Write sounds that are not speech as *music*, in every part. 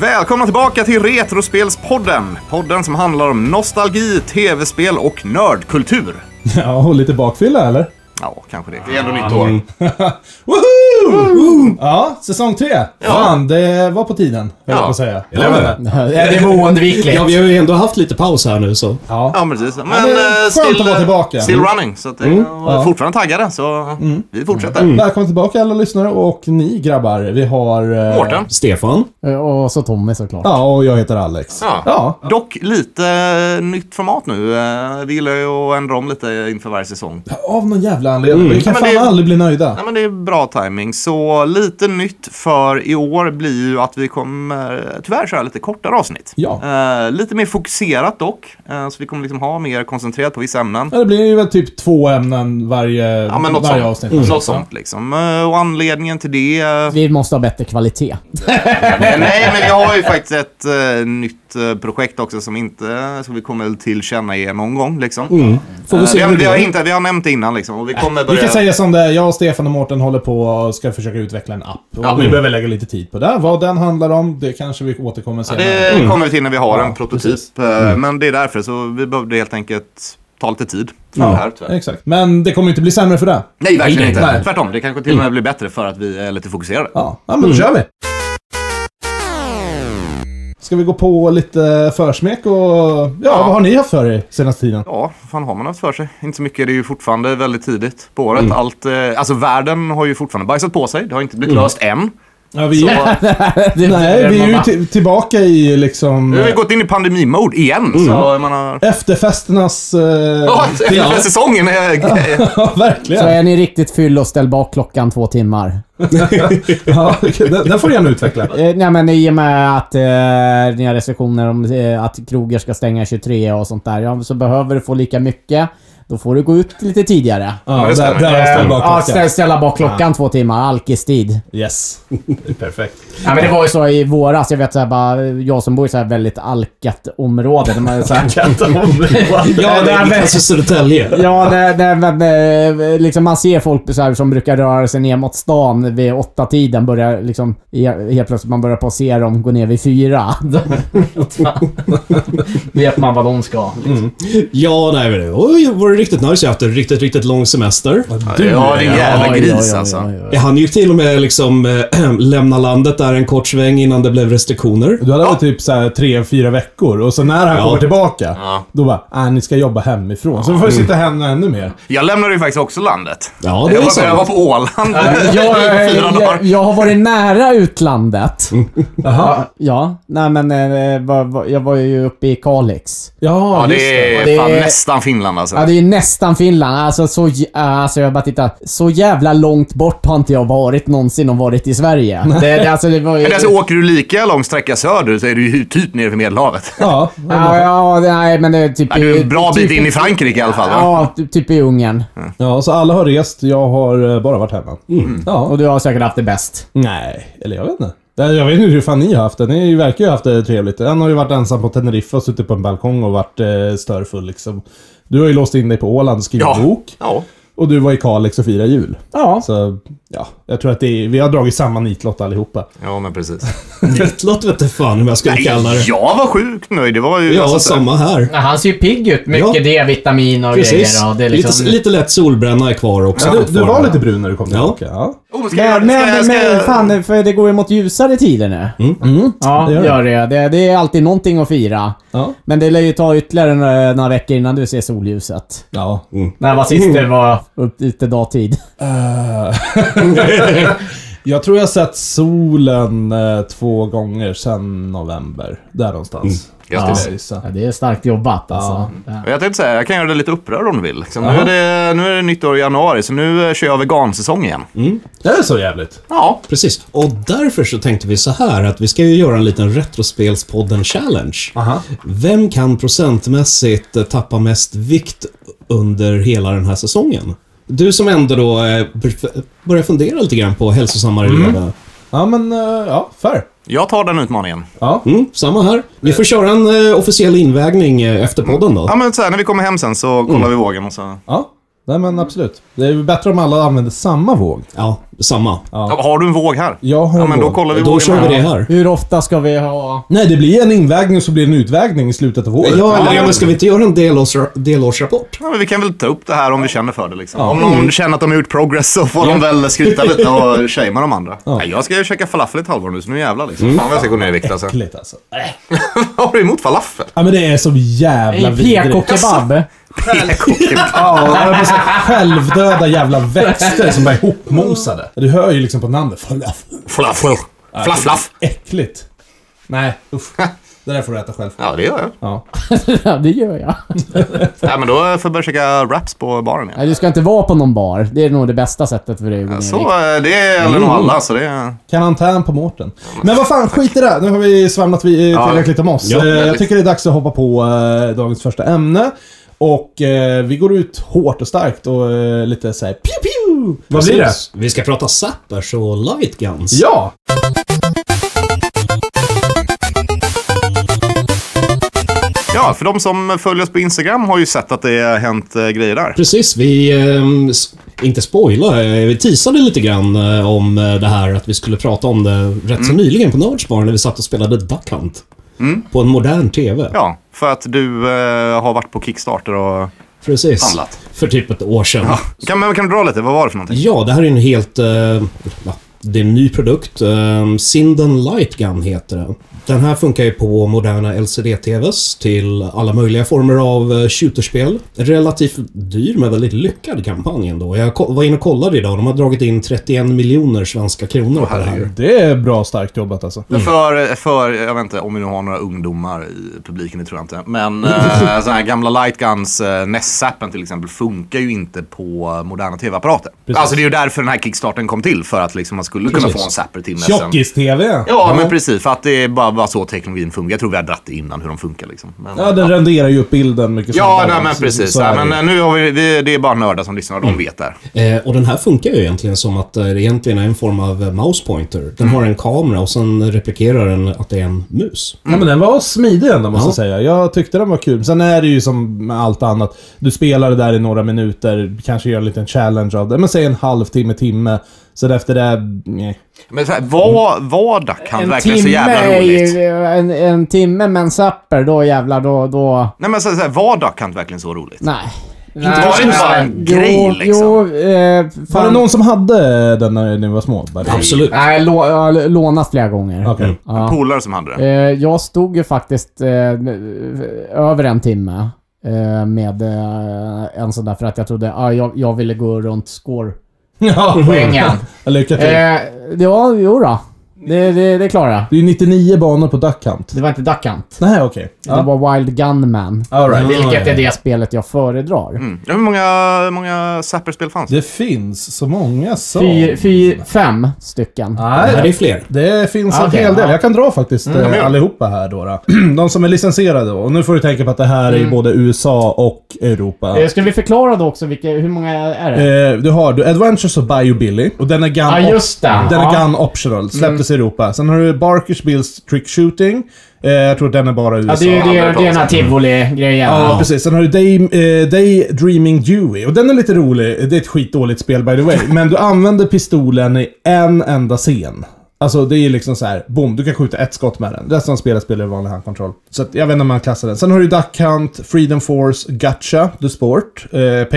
Välkomna tillbaka till Retrospelspodden! Podden som handlar om nostalgi, tv-spel och nördkultur. *laughs* Ja, och lite bakfylla eller? Mm. Ja, kanske det. Det är ändå nytt år. *laughs* Woho! Woho! Ja, säsong tre. Fan, det var på tiden, höll jag Ja. på att säga. det var *laughs* oundvikligt. Ja, vi har ju ändå haft lite paus här nu så. Ja. Ja, men precis. Men, det är eh, skönt att vara tillbaka. Still running. Så att, mm. ja. Mm. Fortfarande taggade, så vi fortsätter. Välkomna tillbaka alla lyssnare och ni grabbar. Vi har... eh, Mårten. Stefan? Eh, Och så Tommy såklart. Ja, och jag heter Alex. Ja. Ja. Dock lite eh, nytt format nu. Eh, Vi gillar ju att ändra om lite inför varje säsong. Av någon jävla anledning. Vi kan Mm. Ja, men fan det- aldrig bli nöjda. Nej, men det är bra timing. Så lite nytt för i år blir ju att vi kommer eh, tyvärr köra lite kortare avsnitt. Ja. Eh, lite mer fokuserat dock. Eh, så vi kommer liksom ha mer koncentrerat på vissa ämnen. Ja, det blir ju väl typ två ämnen varje, Ja, men något varje sånt. avsnitt. Mm. Något sånt liksom. Eh, Och anledningen till det... eh, Vi måste ha bättre kvalitet. Nej, nej, men vi har ju faktiskt ett eh, nytt eh, projekt också som inte... Som vi kommer väl tillkänna er någon gång liksom. Mm. mm. Får vi se Eh, vi, hur det vi, har går. inte, vi har nämnt det innan liksom. Och vi kommer Vi börja... kan säga som det är. Jag, Stefan och Mårten håller på och ska försöka utveckla en app. Och Mm. vi behöver lägga lite tid på det. Vad den handlar om, det kanske vi återkommer Ja, senare. det kommer vi till när vi har Mm. Ja, en prototyp. precis. Mm. eh, Men det är därför, så vi behövde helt enkelt ta lite tid för Ja, det här tyvärr. Exakt. Men det kommer inte bli sämre för det. Nej, verkligen inte. nej. Mm. Tvärtom, det kanske till och med blir bättre för att vi är lite fokuserade. Ja, ja men då Mm. kör vi. Ska vi gå på lite försmek och... Ja, vad har ni haft för er senaste tiden? Ja, vad fan har man haft för sig? Inte så mycket, det är ju fortfarande väldigt tidigt på året. Allt, eh, alltså världen har ju fortfarande bajsat på sig, det har inte blivit löst än. Ja, vi... Så, *laughs* Nej, vi är ju typ- ti- tillbaka i liksom... nu har vi gått in i pandemimode igen. Så man har... Efterfesternas... Eh, Ja, *laughs* efter säsongen eh, är... *laughs* ja, verkligen. Så är ni riktigt fyll och ställ bak klockan två timmar. ja, den, den får du gärna utveckla. Eh, nej men i och med att eh, ni har restriktioner om eh, att krogar ska stänga 23 och sånt där. Ja, så behöver du få lika mycket. Då får du gå ut lite tidigare. Ja, det där, stämmer. där har jag ställt Ja, bakom. ställa, ställa bak klockan två timmar. Alkistid. Yes. Perfekt. Ja, men det var ju så i våras. Jag vet så här, bara, jag som bor i så här väldigt alkat område. *laughs* Där man är så här, Ja, det är alltså Södertälje. *laughs* Ja, nej, nej, men eh, liksom man ser folk så här, som brukar röra sig ner mot stan vid åtta tiden börjar liksom he- helt plötsligt man börjar på att se dem gå ner vid *laughs* fyra. Vet man vad de ska. Ja, nej men det oj, var det riktigt nice. Jag har haft en riktigt, riktigt lång semester. Ja, det är en jävla Oj, oj, gris oj, alltså. oj, oj. Jag hann ju till och med liksom äh, *clears throat* lämna landet där en kort sväng innan det blev restriktioner. Du hade väl typ så här tre, fyra veckor och så när han Ja. kommer tillbaka, Ja. Mm. då bara äh, ni ska jobba hemifrån. Så vi får vi sitta hemma ännu mer. Jag lämnade ju faktiskt också landet. Ja, det Jag är var, jag var sant. på Åland Jag, eh, i *laughs* fyra jag, dagar. jag, jag har varit nära utlandet. Ja, ja, nej men eh, var, var, jag var ju uppe i Kalix. Ja, Ja, just det är Det fan är- nästan Finland alltså. Ja, det är ju nästan Finland. Alltså, så, j- alltså jag bara tittar. Så jävla långt bort har inte jag varit någonsin och varit i Sverige. Det, det, alltså, det var ju... Men alltså, åker du lika lång sträcka söderut så är du ju typ nere vid Medelhavet. Ja. Ja, ja, nej men det är typ... Ja, du är en bra typ, bit in i Frankrike i alla fall. va? Ja, ty- typ i Ungern. ja, så alla har rest. Jag har eh, bara varit hemma. Mm. Ja. Och du har säkert haft det bäst. Nej, eller jag vet inte. Det- Jag vet inte hur fan ni har haft det. Ni verkar ju ha haft det trevligt. En har ju varit ensam på Teneriffa och suttit på en balkong och varit eh, störfull liksom. Du har ju låst in dig på Åland och skrivit Ja. bok. Ja. Och du var i Kalix och firade jul. Ja. Så, ja. Jag tror att det är, vi har dragit samma nitlott allihopa. Ja, men precis. Nitlott vete fan hur jag skulle kalla det. Jag var sjukt nöjd. Det var ju... Ja, alltså, så- samma här. han ser ju pigg ut. Mycket Ja. D-vitamin och liksom- Precis. lite, lite lätt solbränna är kvar också. Ja, du, du var fortfarande. lite brun när du kom Ja. tillbaka. Ja. Oh, ska Nej, jag- ska nej, jag- ska men jag- fan, för det går ju mot ljusare tider nu. Ja, det gör det. gör det. det. Det är alltid någonting att fira. Ja. Men det lär ju ta ytterligare några, några veckor innan du ser solljuset. Ja. När var sist det var *laughs* upp- ute dagtid? Eh, *laughs* Jag tror jag sett solen eh, två gånger sedan november. Där någonstans. Grattis. Ja, så. Ja, det är starkt jobbat alltså. Ja. Jag tänkte säga, jag kan göra dig lite upprörd om du vill. Liksom, nu, är det, nu är det nytt år i januari, så nu eh, kör jag vegansäsong igen. Mm. Det är så jävligt. Ja. Precis. Och därför så tänkte vi så här att vi ska ju göra en liten Retrospelspodden-challenge. Aha. Vem kan procentmässigt eh, tappa mest vikt under hela den här säsongen? Du som ändå då eh, bör- börjar fundera lite grann på hälsosammare Mm. leverne. Ja, men eh, ja, fair. Jag tar den utmaningen. Ja. Mm, samma här. Vi får köra en eh, officiell invägning eh, efter podden då. Mm. Mm. Ja, men så här, när vi kommer hem sen så kollar vi vågen och så... ja. Nej men absolut. Det är ju bättre om alla använder samma våg. Ja, samma. Ja, Har du en våg här? Jag har ja, en men då våg. kollar vi Då vågen kör vi här. det här. Hur ofta ska vi ha... Nej, det blir en invägning och så blir det en utvägning i slutet av året. Ja, eller, ja, men ska vi inte göra en delårsra- delårsrapport? Ja, men vi kan väl ta upp det här om vi känner för det. Liksom. Om Mm. någon känner att de har gjort progress så får de väl skryta *laughs* lite och shamea de andra. Nej, jag ska ju käka falafel i ett halvår nu, så nu jävlar liksom. Mm. Fan vad jag ska gå ner i vikt alltså. Äckligt alltså. Vad har du emot *laughs* falafel? Ja men det är så jävla En vidrigt. PK-kebab? PK-kebab. Ja, jag vill säga, självdöda jävla växter som bara är ihopmosade. Du hör ju liksom på namnet. Falafel. Falafel. Flaff, flaff. Äckligt. Nej, usch. Det där får du äta själv. Ja, det gör jag. Ja. Ja, det gör jag. Nej, men då får jag börja käka wraps på baren igen. Nej, du ska inte vara på någon bar. Det är nog det bästa sättet för dig att gå ner i Så vikt. eh, det gäller nog alla, så det är... Karantän på Mårten. Men vad fan, skit i det. Nu har vi svamlat vi, Ja. tillräckligt om oss. Ja, Eh, jag väldigt. tycker det är dags att hoppa på eh, dagens första ämne. Och eh, vi går ut hårt och starkt och eh, lite såhär pew pew. Vad blir det? Precis. Vi ska prata zappers och light guns. Ja! Ja, för de som följer oss på Instagram har ju sett att det har hänt eh, grejer där. Precis, vi... ehm, s- inte spoila, eh, vi teasade lite grann eh, om eh, det här att vi skulle prata om det rätt Mm. så nyligen på Nördsbar när vi satt och spelade Duck Hunt. På en modern TV. Ja, för att du eh, har varit på Kickstarter och... Precis. Handlat. För typ ett år sedan. Ja, Kan, men kan du dra lite? Vad var det för någonting? det här är en helt... eh, ja, det är en ny produkt. Eh, Sinden Light Gun heter den. Den här funkar ju på moderna LCD-TVs till alla möjliga former av eh, shooterspel. Relativt dyr men väldigt lyckad kampanj ändå. Jag ko- var inne och kollade idag. De har dragit in 31 miljoner svenska kronor på det här. Det är bra starkt jobbat alltså. Mm. För, för, jag vet inte om vi nu har några ungdomar i publiken, det tror jag inte. Men eh, sådana här gamla lightguns, eh, Nessappen till exempel, funkar ju inte på eh, moderna tv-apparater. Precis. Alltså det är ju därför den här kickstarten kom till, för att liksom man skulle kunna Precis. få en zapper till Nessen. Tjockis-TV. Ja, men precis. För att det är bara, bara så teknologin funkar. Jag tror vi har dratt det innan hur de funkar liksom. Men, Ja, den renderar ju upp bilden mycket Ja, snabbare. nej, men Så- precis. så är Ja, det ju. men eh, nu har vi, vi, det är bara nördar som lyssnar, de vet där. Eh, och den här funkar ju egentligen som att eh, det egentligen är en form av eh, mouse pointer. Mm. Den har en kamera och sen replikerar den att det är en mus. Ja, men den var smidig ändå måste Ja. jag säga. Jag tyckte den var kul. Sen är det ju som med allt annat. Du spelar det där i några minuter, kanske gör en liten challenge av det. Men säg en halvtimme, timme. Sen efter det... Nej. Men så här, var, var Duck Hunt verkligen så jävla är roligt? ju- en, en timme med en zapper, då jävlar, då... då Nej men så så här, var Duck Hunt verkligen så roligt? nej. Inte var det inte bara en grej, liksom? Jo, eh, Var fan. det någon som hade den när ni var små? Bara- Absolut. Nej, lå, jag har lånat flera gånger. Okej. Mm. Ja. Polare som hade det. Eh, jag stod ju faktiskt eh, över en timme eh, med eh, en sån där för att jag trodde ah, jag, jag ville gå runt *laughs* *laughs* Ja. scorepoängen. Lycka till. eh, ja, jo då. Det, det, det klarar jag. Det är 99 banor på Duck Hunt. Det var inte Duckhunt. Nej, okej. Det Ja. var Wild Gunman. All Mm. right. Vilket är det spelet jag föredrar. Mm. Ja, Hur många, hur många Zapper-spel fanns? Det finns så många som... Fy, fy, fem stycken. Det här är Nej, fler. det finns en Okej, hel del. ja. Jag kan dra faktiskt eh, gör det. allihopa här då. *clears throat* då. De som är licensierade då. Och nu får du tänka på att det här Mm. är ju både USA och Europa. Eh, Ska vi förklara då också vilka, hur många är det? Eh, du har du Adventures of Biobilly och den är gun, Ja, Ah, just det. Den är Ja. Mm. gun optional, släpptes i Europa. Sen har du Barkers Bills Trick Shooting. Eh, jag tror den är bara i USA. Ja, det är ju det, det är den här tivoli-grejen. Ja, Ja. precis. Sen har du Day, eh, Day Dreaming Dewey. Och den är lite rolig. Det är ett skitdåligt spel by the way. Men du använder pistolen i en enda scen. Alltså det är liksom så här, boom, du kan skjuta ett skott med den. Resten av spelet spelar du vanlig handkontroll. Så att, jag vet inte om man klassar den. Sen har du Duck Hunt, Freedom Force, Gotcha, The Sport, eh,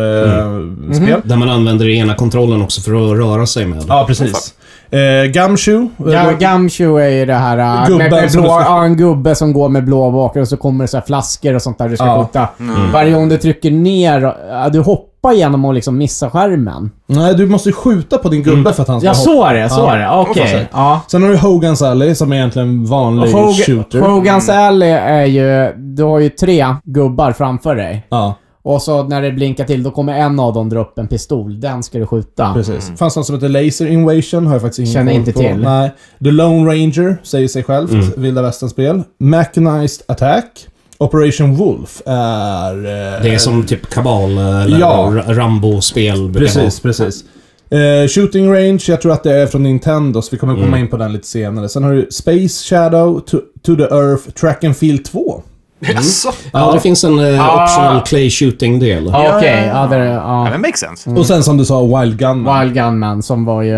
Paintball-spel. Där man använder den ena kontrollen också för att röra sig med. Ja, precis. Eh, Gumshoe. Ja, Eh, Gamshoe är ju det här äh, Gubben med, med som blå, du ska- ja, en gubbe som går med blå bakgrund och så kommer det så här flaskor och sånt där du ska Ja. skjuta. Varje gång du trycker ner, äh, du hoppar genom att liksom missa skärmen. Nej, du måste ju skjuta på din gubbe för att han ska Jag hoppa. såg det, jag såg Ja. det. Okej. Ja. Ja. Sen har du Hogan's Alley som är egentligen vanlig shooter. Mm. Hog- Hogan's Alley är ju... Du har ju tre gubbar framför dig. ja, Och så när det blinkar till, då kommer en av dem dra upp en pistol. Den ska du skjuta. precis. Fanns någon som heter Laser Invasion, har jag faktiskt ingen Känner koll inte på. till. Nej. The Lone Ranger, säger sig självt. Vilda västern-spel. Mechanized Attack. Operation Wolf är... eh, Det är som typ kabal eller Ja. Ra- Rambo-spel. brukar Precis, precis. Eh, shooting Range, jag tror att det är från Nintendo, så vi kommer komma in på den lite senare. Sen har du Space Shadow, to, to the Earth, Track and Field 2. Mm. Jaså? Ja, det finns en eh, Ah. optional clay shooting-del. Ja, Ja, Okej, ja, ja. ja, det- ja. Ja, det makes sense. Mm. Och sen som du sa, Wild Gun. Wild Gunman som var ju...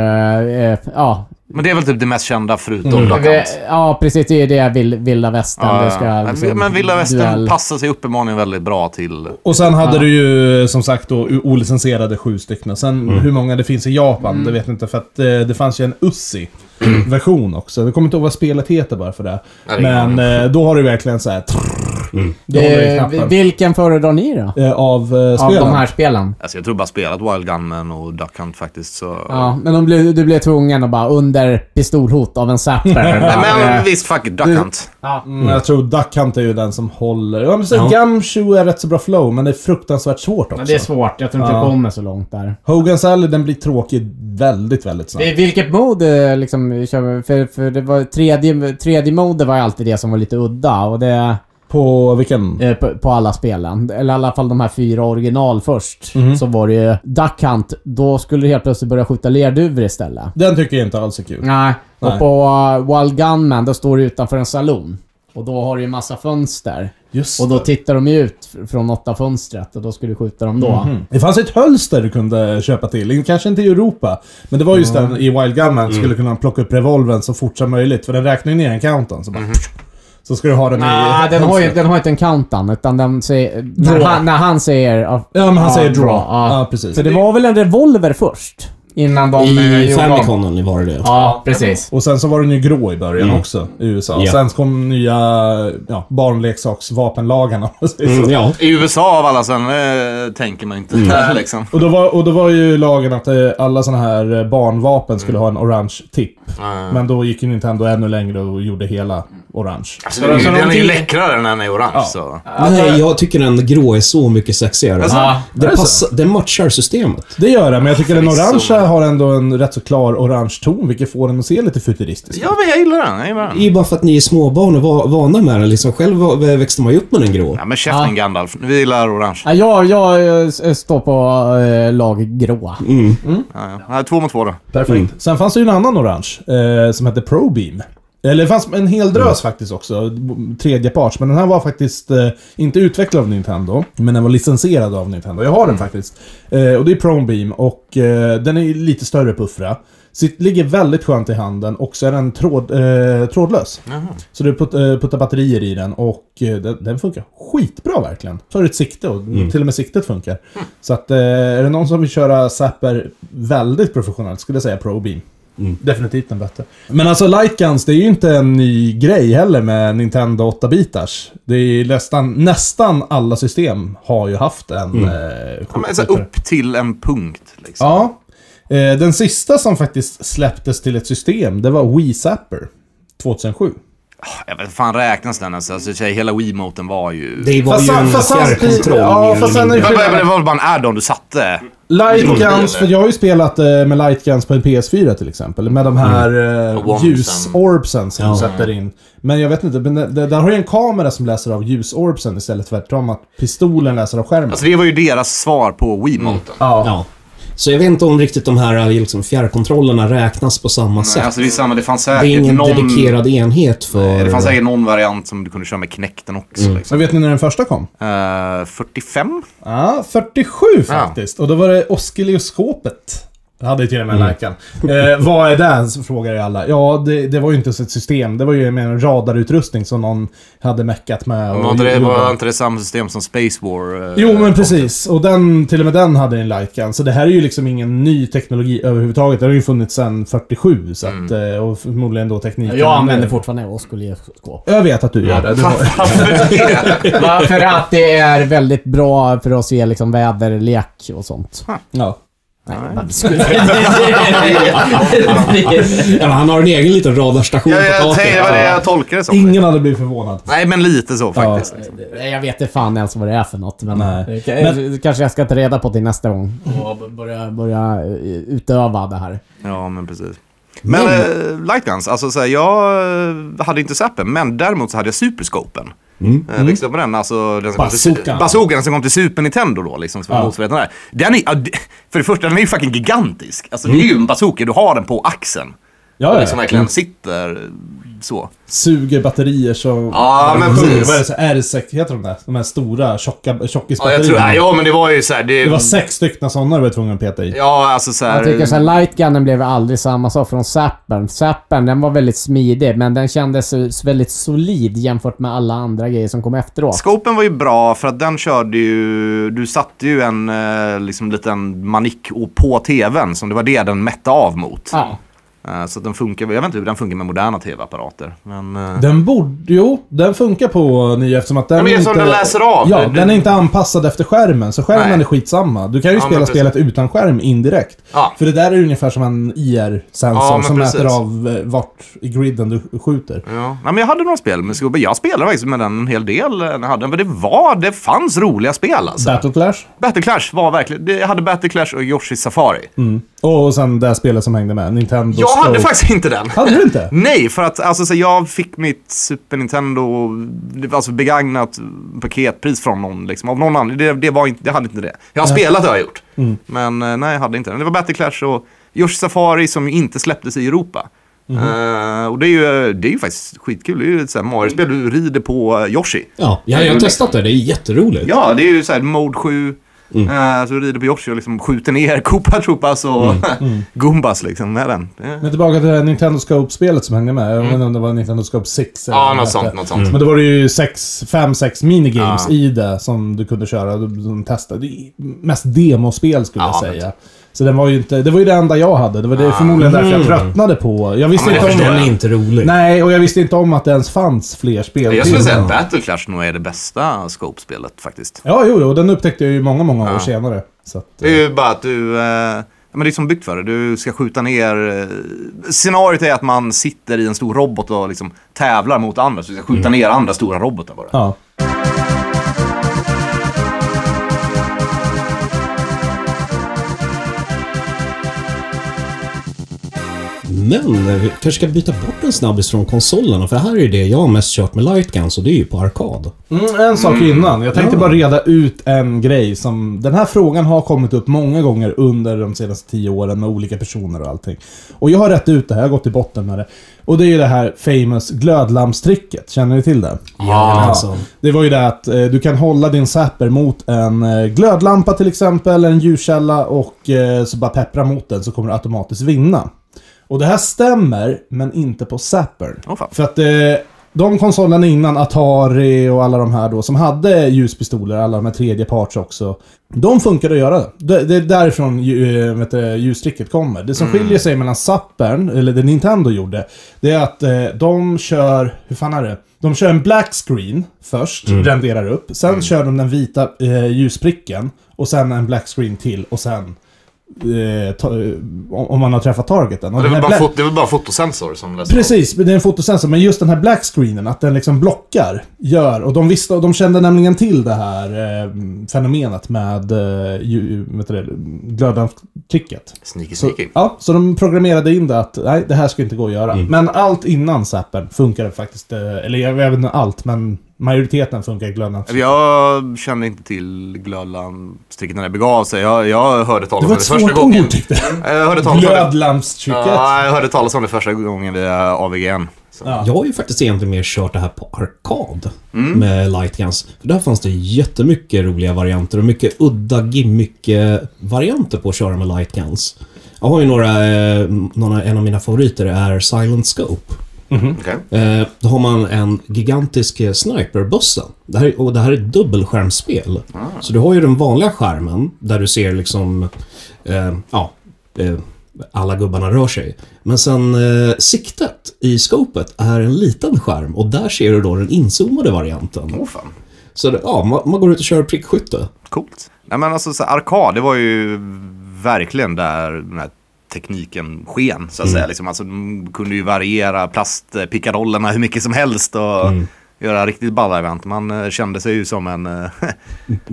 eh, Ja, Men det är väl typ det mest kända förutom mm. Duck vi, Hunt. ja precis. Det är ju det vill, vilda västern. Ja, det ska, ja. liksom, Men- men vilda västern duell. passar sig uppenbarligen väldigt bra till... Och sen hade du ju som sagt då olicensierade sju stycken. Sen hur många det finns i Japan, Mm. det vet jag inte. För att eh, det fanns ju en Ussi-version också. Jag kommer inte ihåg vad spelet heter bara för det. Ja, det är Men eh, då har du verkligen så här... trrr, Då håller du i Eh, knappen. vilken föredrar ni då? eh, av eh, Av spelen. de här spelen? Alltså jag tror bara spelat Wild Gunman och Duck Hunt faktiskt. Så... Ja, men de blev, du blev tvungen att bara under pistolhot av *laughs* en zapper. Nej, bara, Men eh, visst, fuck it, Duck Hunt. ja. Mm. Jag tror Duck Hunt är ju den som håller. Ja, men så Ja. Gumshoe är rätt så bra flow, men det är fruktansvärt svårt också. Men det är svårt. Jag tror inte Ja. det kommer så långt där. Hogan's Alley, den blir tråkig väldigt, väldigt snabbt. I vilket mod eh, liksom, kör vi? för, för det var tredje, tredje mode var ju alltid det som var lite udda och det På vilken? eh, på, på alla spelen. Eller i alla fall de här fyra original först. Mhm. Så var det ju Duck Hunt. Då skulle du helt plötsligt börja skjuta lerduvor istället. Den tycker jag inte alls är kul. Nej. Nej. Och på eh, Wild Gunman, då står du utanför en saloon. Och då har du ju massa fönster. Just Och då det. tittar de ju ut fr- från åtta fönstret och då skulle du skjuta dem då. Mhm. Det fanns ett hölster du kunde köpa till. Kanske inte i Europa. Men det var just den i Wild Gunman. Mm. skulle kunna plocka upp revolvern så fort som möjligt. För den räknar ju ner en countdown. Så, bara, så ska du ha den Nej, i Mhm. den har, ju, hölstret. den har inte en countdown utan den säger... När Draw. han, när han säger... Ja, Ja, men han Ja, säger draw. Ah, draw, Ja, ja. precis. för det var väl en revolver först? Innan de... eh, I gjorde om. Famiconen var det det. Ja, precis. Och sen så var den ju grå i början Mm. också i USA. Ja. Sen kom nya ja, barnleksaksvapenlagarna. *laughs* om man säger så. Mm, ja. I USA av alla sen eh, tänker man Mm. inte där liksom. Och då, var, och då var ju lagen att eh, alla såna här eh, barnvapen skulle Mm. ha en orange tipp. Ah. Men då gick ju Nintendo ännu längre och gjorde hela orange. Alltså, den, är ju- den är ju läckrare när den är orange. Så. Nej, jag tycker den grå är så mycket sexigare. Alltså, Det, är det så? passar, det matchar systemet. Det gör den, men jag tycker den Förvisso, orangea men- har ändå en rätt så klar orange ton, vilket får den att se lite futuristisk ut. Ja, men jag gillar den. Jag gillar den. Det är ju bara för att ni är småbarn och va- vana med den. Liksom. Själv var- växte man ju upp med den grå. Ja, men käften Ja. Gandalf. Vi gillar orange. Ja, jag, jag eh, s- står på eh, lag grå. Mm. Ja, ja. Ja, två mot två då. Perfekt. Mm. Sen fanns det ju en annan orange eh, som hette Probeam. Eller det fanns en hel drös faktiskt också, b- tredjeparts. Men den här var faktiskt eh, inte utvecklad av Nintendo, men den var licensierad av Nintendo. Jag har den faktiskt. Eh, och det är Probeam och eh, den är ju lite större puffra. Sitt, ligger väldigt skönt i handen och så är den tråd, eh, trådlös. Så du put, eh, puttar batterier i den och eh, den, den funkar skitbra verkligen. Så har du ett sikte och Mm. till och med siktet funkar. Hm. Så att eh, är det någon som vill köra Zapper väldigt professionellt skulle jag säga Pro Beam. Mm. Definitivt den bättre. Men alltså Light Guns, det är ju inte en ny grej heller med Nintendo 8-bitars. Det är ju nästan, nästan alla system har ju haft en... Eh, Mm. Ja, men, alltså, skjutare. upp till en punkt. Liksom. Ja. Eh, Den sista som faktiskt släpptes till ett system, det var Wii Zapper 2007. Jag vet fan räknas den ens? Alltså, tjej, hela Wiimoten var ju... Det var Fast ju sen- en fast sen- fjärrkontroll. ja, mer eller fast sen är- mindre. Men, men, men det var väl bara en add-on du satte? Alltså, Light Kontroll, Guns, eller? för jag har ju spelat eh, med Light Guns på en PS4 till exempel. Med de här eh, Och Wombsen. ljusorbsen som du Ja. sätter in. Men jag vet inte, men det- det- där har ju en kamera som läser av ljusorbsen istället för tvärtom att pistolen läser av skärmen. Alltså det var ju deras svar på Wiimoten. ja. Ja. Så jag vet inte om riktigt de här liksom, fjärrkontrollerna räknas på samma Nej, sätt. alltså, det, är samma, det fanns det är säkert ingen någon... dedikerad enhet för... Det fanns säkert någon variant som du kunde köra med knäkten också. Liksom. Men vet ni när den första kom? Eh, 45? Ja, 47 faktiskt. Och då var det Oscillioskopet. Jag hade ju till och Mm. med Likan. Eh, vad är det? Så frågar ju alla. Ja, det, det var ju inte ens ett system. Det var ju med en radarutrustning som någon hade meckat med. och Var inte det, gjorde. var inte det samma system som Space War? eh, *laughs* Jo, men precis. Och den, till och med den hade en Lycan. Så det här är ju liksom ingen ny teknologi överhuvudtaget. Det har ju funnits sedan 47. Så att, Mm. eh, och förmodligen då tekniken. Jag använder fortfarande oskulioskop. Jag vet att du gör det. Du har... *laughs* För att det är väldigt bra för att se liksom väderlek och sånt. ja. Nej, Ja, han har en egen liten radarstation Jag, på jag, taket. tänkte- det var det jag tolkade det som. Ingen hade blivit förvånad. Nej, men lite så faktiskt. liksom. Nej, Jag vet inte fan ens vad det är för något. Men, Nej. Eh, kanske jag ska ta reda på till nästa gång. Och b- börja, börja eh, utöva det här. Ja, men precis. Men mm. Lightguns, alltså så här, jag eh, hade inte Zappen, men däremot så hade jag Superscopen. Mm. Mm. Växte upp med den, alltså den som kom till, Bazookan. bazookan som kom till Super Nintendo då, liksom, som var Ja. motsvarigheten där. Den är, ja, det- för det första, den är ju fucking gigantisk. Alltså det är ju en bazooka, du har den på axeln. Ja, Och ja. Mm. liksom verkligen sitter så. Suger batterier så... Ja, men precis. Vad är det? så- R6 heter de där? De här stora tjocka, Ja, tjockisbatterierna. jag tror, ja, ja, men det var ju så här, det, Det var sex stycken sådana du var tvungen att peta i. Ja, alltså så här, Jag tycker såhär, lightgunnen blev aldrig samma sak från Zappen. Zappen, den var väldigt smidig, men den kändes eh, väldigt solid jämfört med alla andra grejer som kom efteråt. Scopen var ju bra för att den körde ju, du satte ju en eh, liksom liten manick och- på tvn som det var det den mätte av mot. Ja. Eh, Så att den funkar, jag vet inte hur den funkar med moderna tv-apparater. Men, eh, Den borde... Jo, den funkar på nya eftersom att den Ja, men eftersom inte... den läser av. Ja, Det- den är inte anpassad efter skärmen, så skärmen Nej. är skitsamma. Du kan ju Ja, spela men precis. spelet utan skärm indirekt. Ja. För det där är ungefär som en IR-sensor Ja, men som precis. Mm. mäter av eh, vart i griden du skjuter. Ja. Nej, men jag hade några spel med Scopen. Jag spelade faktiskt med den en hel del eh, när jag hade den. För det var, det fanns roliga spel alltså. Battle Clash. Battle Clash var verkligen, det- jag hade Battle Clash och Yoshi Safari. Mm. Och sen det här spelet som hängde med. Nintendo jag hade Scope. faktiskt inte den. Hade du inte? Nej, för att alltså, så jag fick mitt Super Nintendo alltså, begagnat paketpris från någon. Liksom, av någon anledning. Det, det, var inte, det hade inte det. Jag har spelat det har jag gjort. Men eh, nej, jag hade inte den. Det var Battle Clash och Yoshi Safari som ju inte släpptes i Europa. Eh, och det är, ju, det är ju faktiskt skitkul. Det är ju ett sånt här Mario-spel. Du rider på eh, Yoshi. Ja, jag, jag har testat det. Det är jätteroligt. Ja, det är ju så här Mode 7. eh, så du rider på Yoshi och liksom skjuter ner *laughs* Koopa Troopas och *laughs* Goombas liksom med den. Det- Men tillbaka till det här Nintendo Scope-spelet som hängde med. Jag vet inte om det var Nintendo Scope 6 eller Mm. Ja, vad det något hette. sånt. Något sånt. Men då var det ju 5-6 minigames Ja. i det som du kunde köra. De de testade. Det är Mest demospel skulle Ja, jag men- säga. Så den var ju inte, det var ju det enda jag hade. Det var det, förmodligen därför jag tröttnade på. Jag visste men jag inte om förstår Den är inte rolig. Nej, och jag visste inte om att det ens fanns fler spel. Jag skulle till säga den. att Battle Clash nog är det bästa Scope-spelet faktiskt. Ja, jo, jo. Den upptäckte jag ju många, många år Ja. senare. Så att, Det är ju bara att du... Eh, ja, men det är som byggt för det. Du ska skjuta ner... Eh, scenariot är att man sitter i en stor robot och liksom tävlar mot andra. Så du ska skjuta ner andra stora robotar bara. ja. Men eh, vi kanske ska byta bort en snabbis från konsolerna, för det här är ju det jag har mest kört med Lightguns och det är ju på arkad. Mm, en sak innan. Jag tänkte bara reda ut en grej som... Den här frågan har kommit upp många gånger under de senaste tio åren med olika personer och allting. Och jag har rätt ut det här, jag har gått till botten med det. Och det är ju det här famous glödlampstricket. Känner ni till det? Jajamensan. Det var ju det att eh, du kan hålla din zapper mot en eh, glödlampa till exempel, en ljuskälla och eh, så bara peppra mot den så kommer du automatiskt vinna. Och det här stämmer, men inte på zappern. Åh, fan. För att eh, de konsolerna innan, Atari och alla de här då, som hade ljuspistoler, alla de här tredjeparts också. De funkade att göra. Det, det är därifrån ju- eh, vet du, ljustricket kommer. Det som Mm. skiljer sig mellan Zappern, eller det Nintendo gjorde, det är att eh, de kör, hur fan är det? De kör en black screen först, Mm. renderar upp. Sen kör de den vita eh, ljuspricken. Och sen en black screen till och sen... Eh, ta, eh, om om man har träffat targeten. Och Det är, den här väl bara black- fot- det är väl bara fotosensor som läser av. Precis, men det är en fotosensor. Men just den här black screenen, att den liksom blockar, gör... Och de visste, och de kände nämligen till det här eh, fenomenet med eh, ju- vet du det, glödlampstricket. Sneaky, Så, sneaky. ja, så de programmerade in det att nej, det här ska inte gå att göra. Men allt innan zappen funkade faktiskt, eh, eller jag jag vet inte allt, men majoriteten funkar i glödlampstricket. Jag kände inte till glödlampstricket när det begav sig. Jag, jag hörde talas Det var om ett det första svårt gången. ord tyckte jag. Jag hörde talas om det. Glödlampstricket. Ja, jag hörde talas om det första gången via AVGN. Så. Ja. Jag har ju faktiskt egentligen mer kört det här på arkad Mm. med Lightguns. För där fanns det jättemycket roliga varianter och mycket udda gimmick-varianter på att köra med Lightguns. Jag har ju några, eh, några, en av mina favoriter är Silent Scope. Mm-hmm. Okej. Eh, Då har man en gigantisk eh, sniperbössa. Det här, är- och det här är ett dubbelskärmsspel. Så du har ju den vanliga skärmen där du ser liksom... Eh, ja, eh, alla gubbarna rör sig. Men sen eh, siktet i scopet är en liten skärm och där ser du då den inzoomade varianten. Åh, fan. Så det, ja, man, man går ut och kör prickskytte. Coolt. Nej men alltså så här, arkad, det var ju verkligen där den här tekniken sken så att Mm. säga. Liksom, alltså, de kunde ju variera plastpickadollerna hur mycket som helst och Mm. göra riktigt balla event. Man eh, kände sig ju som en, eh,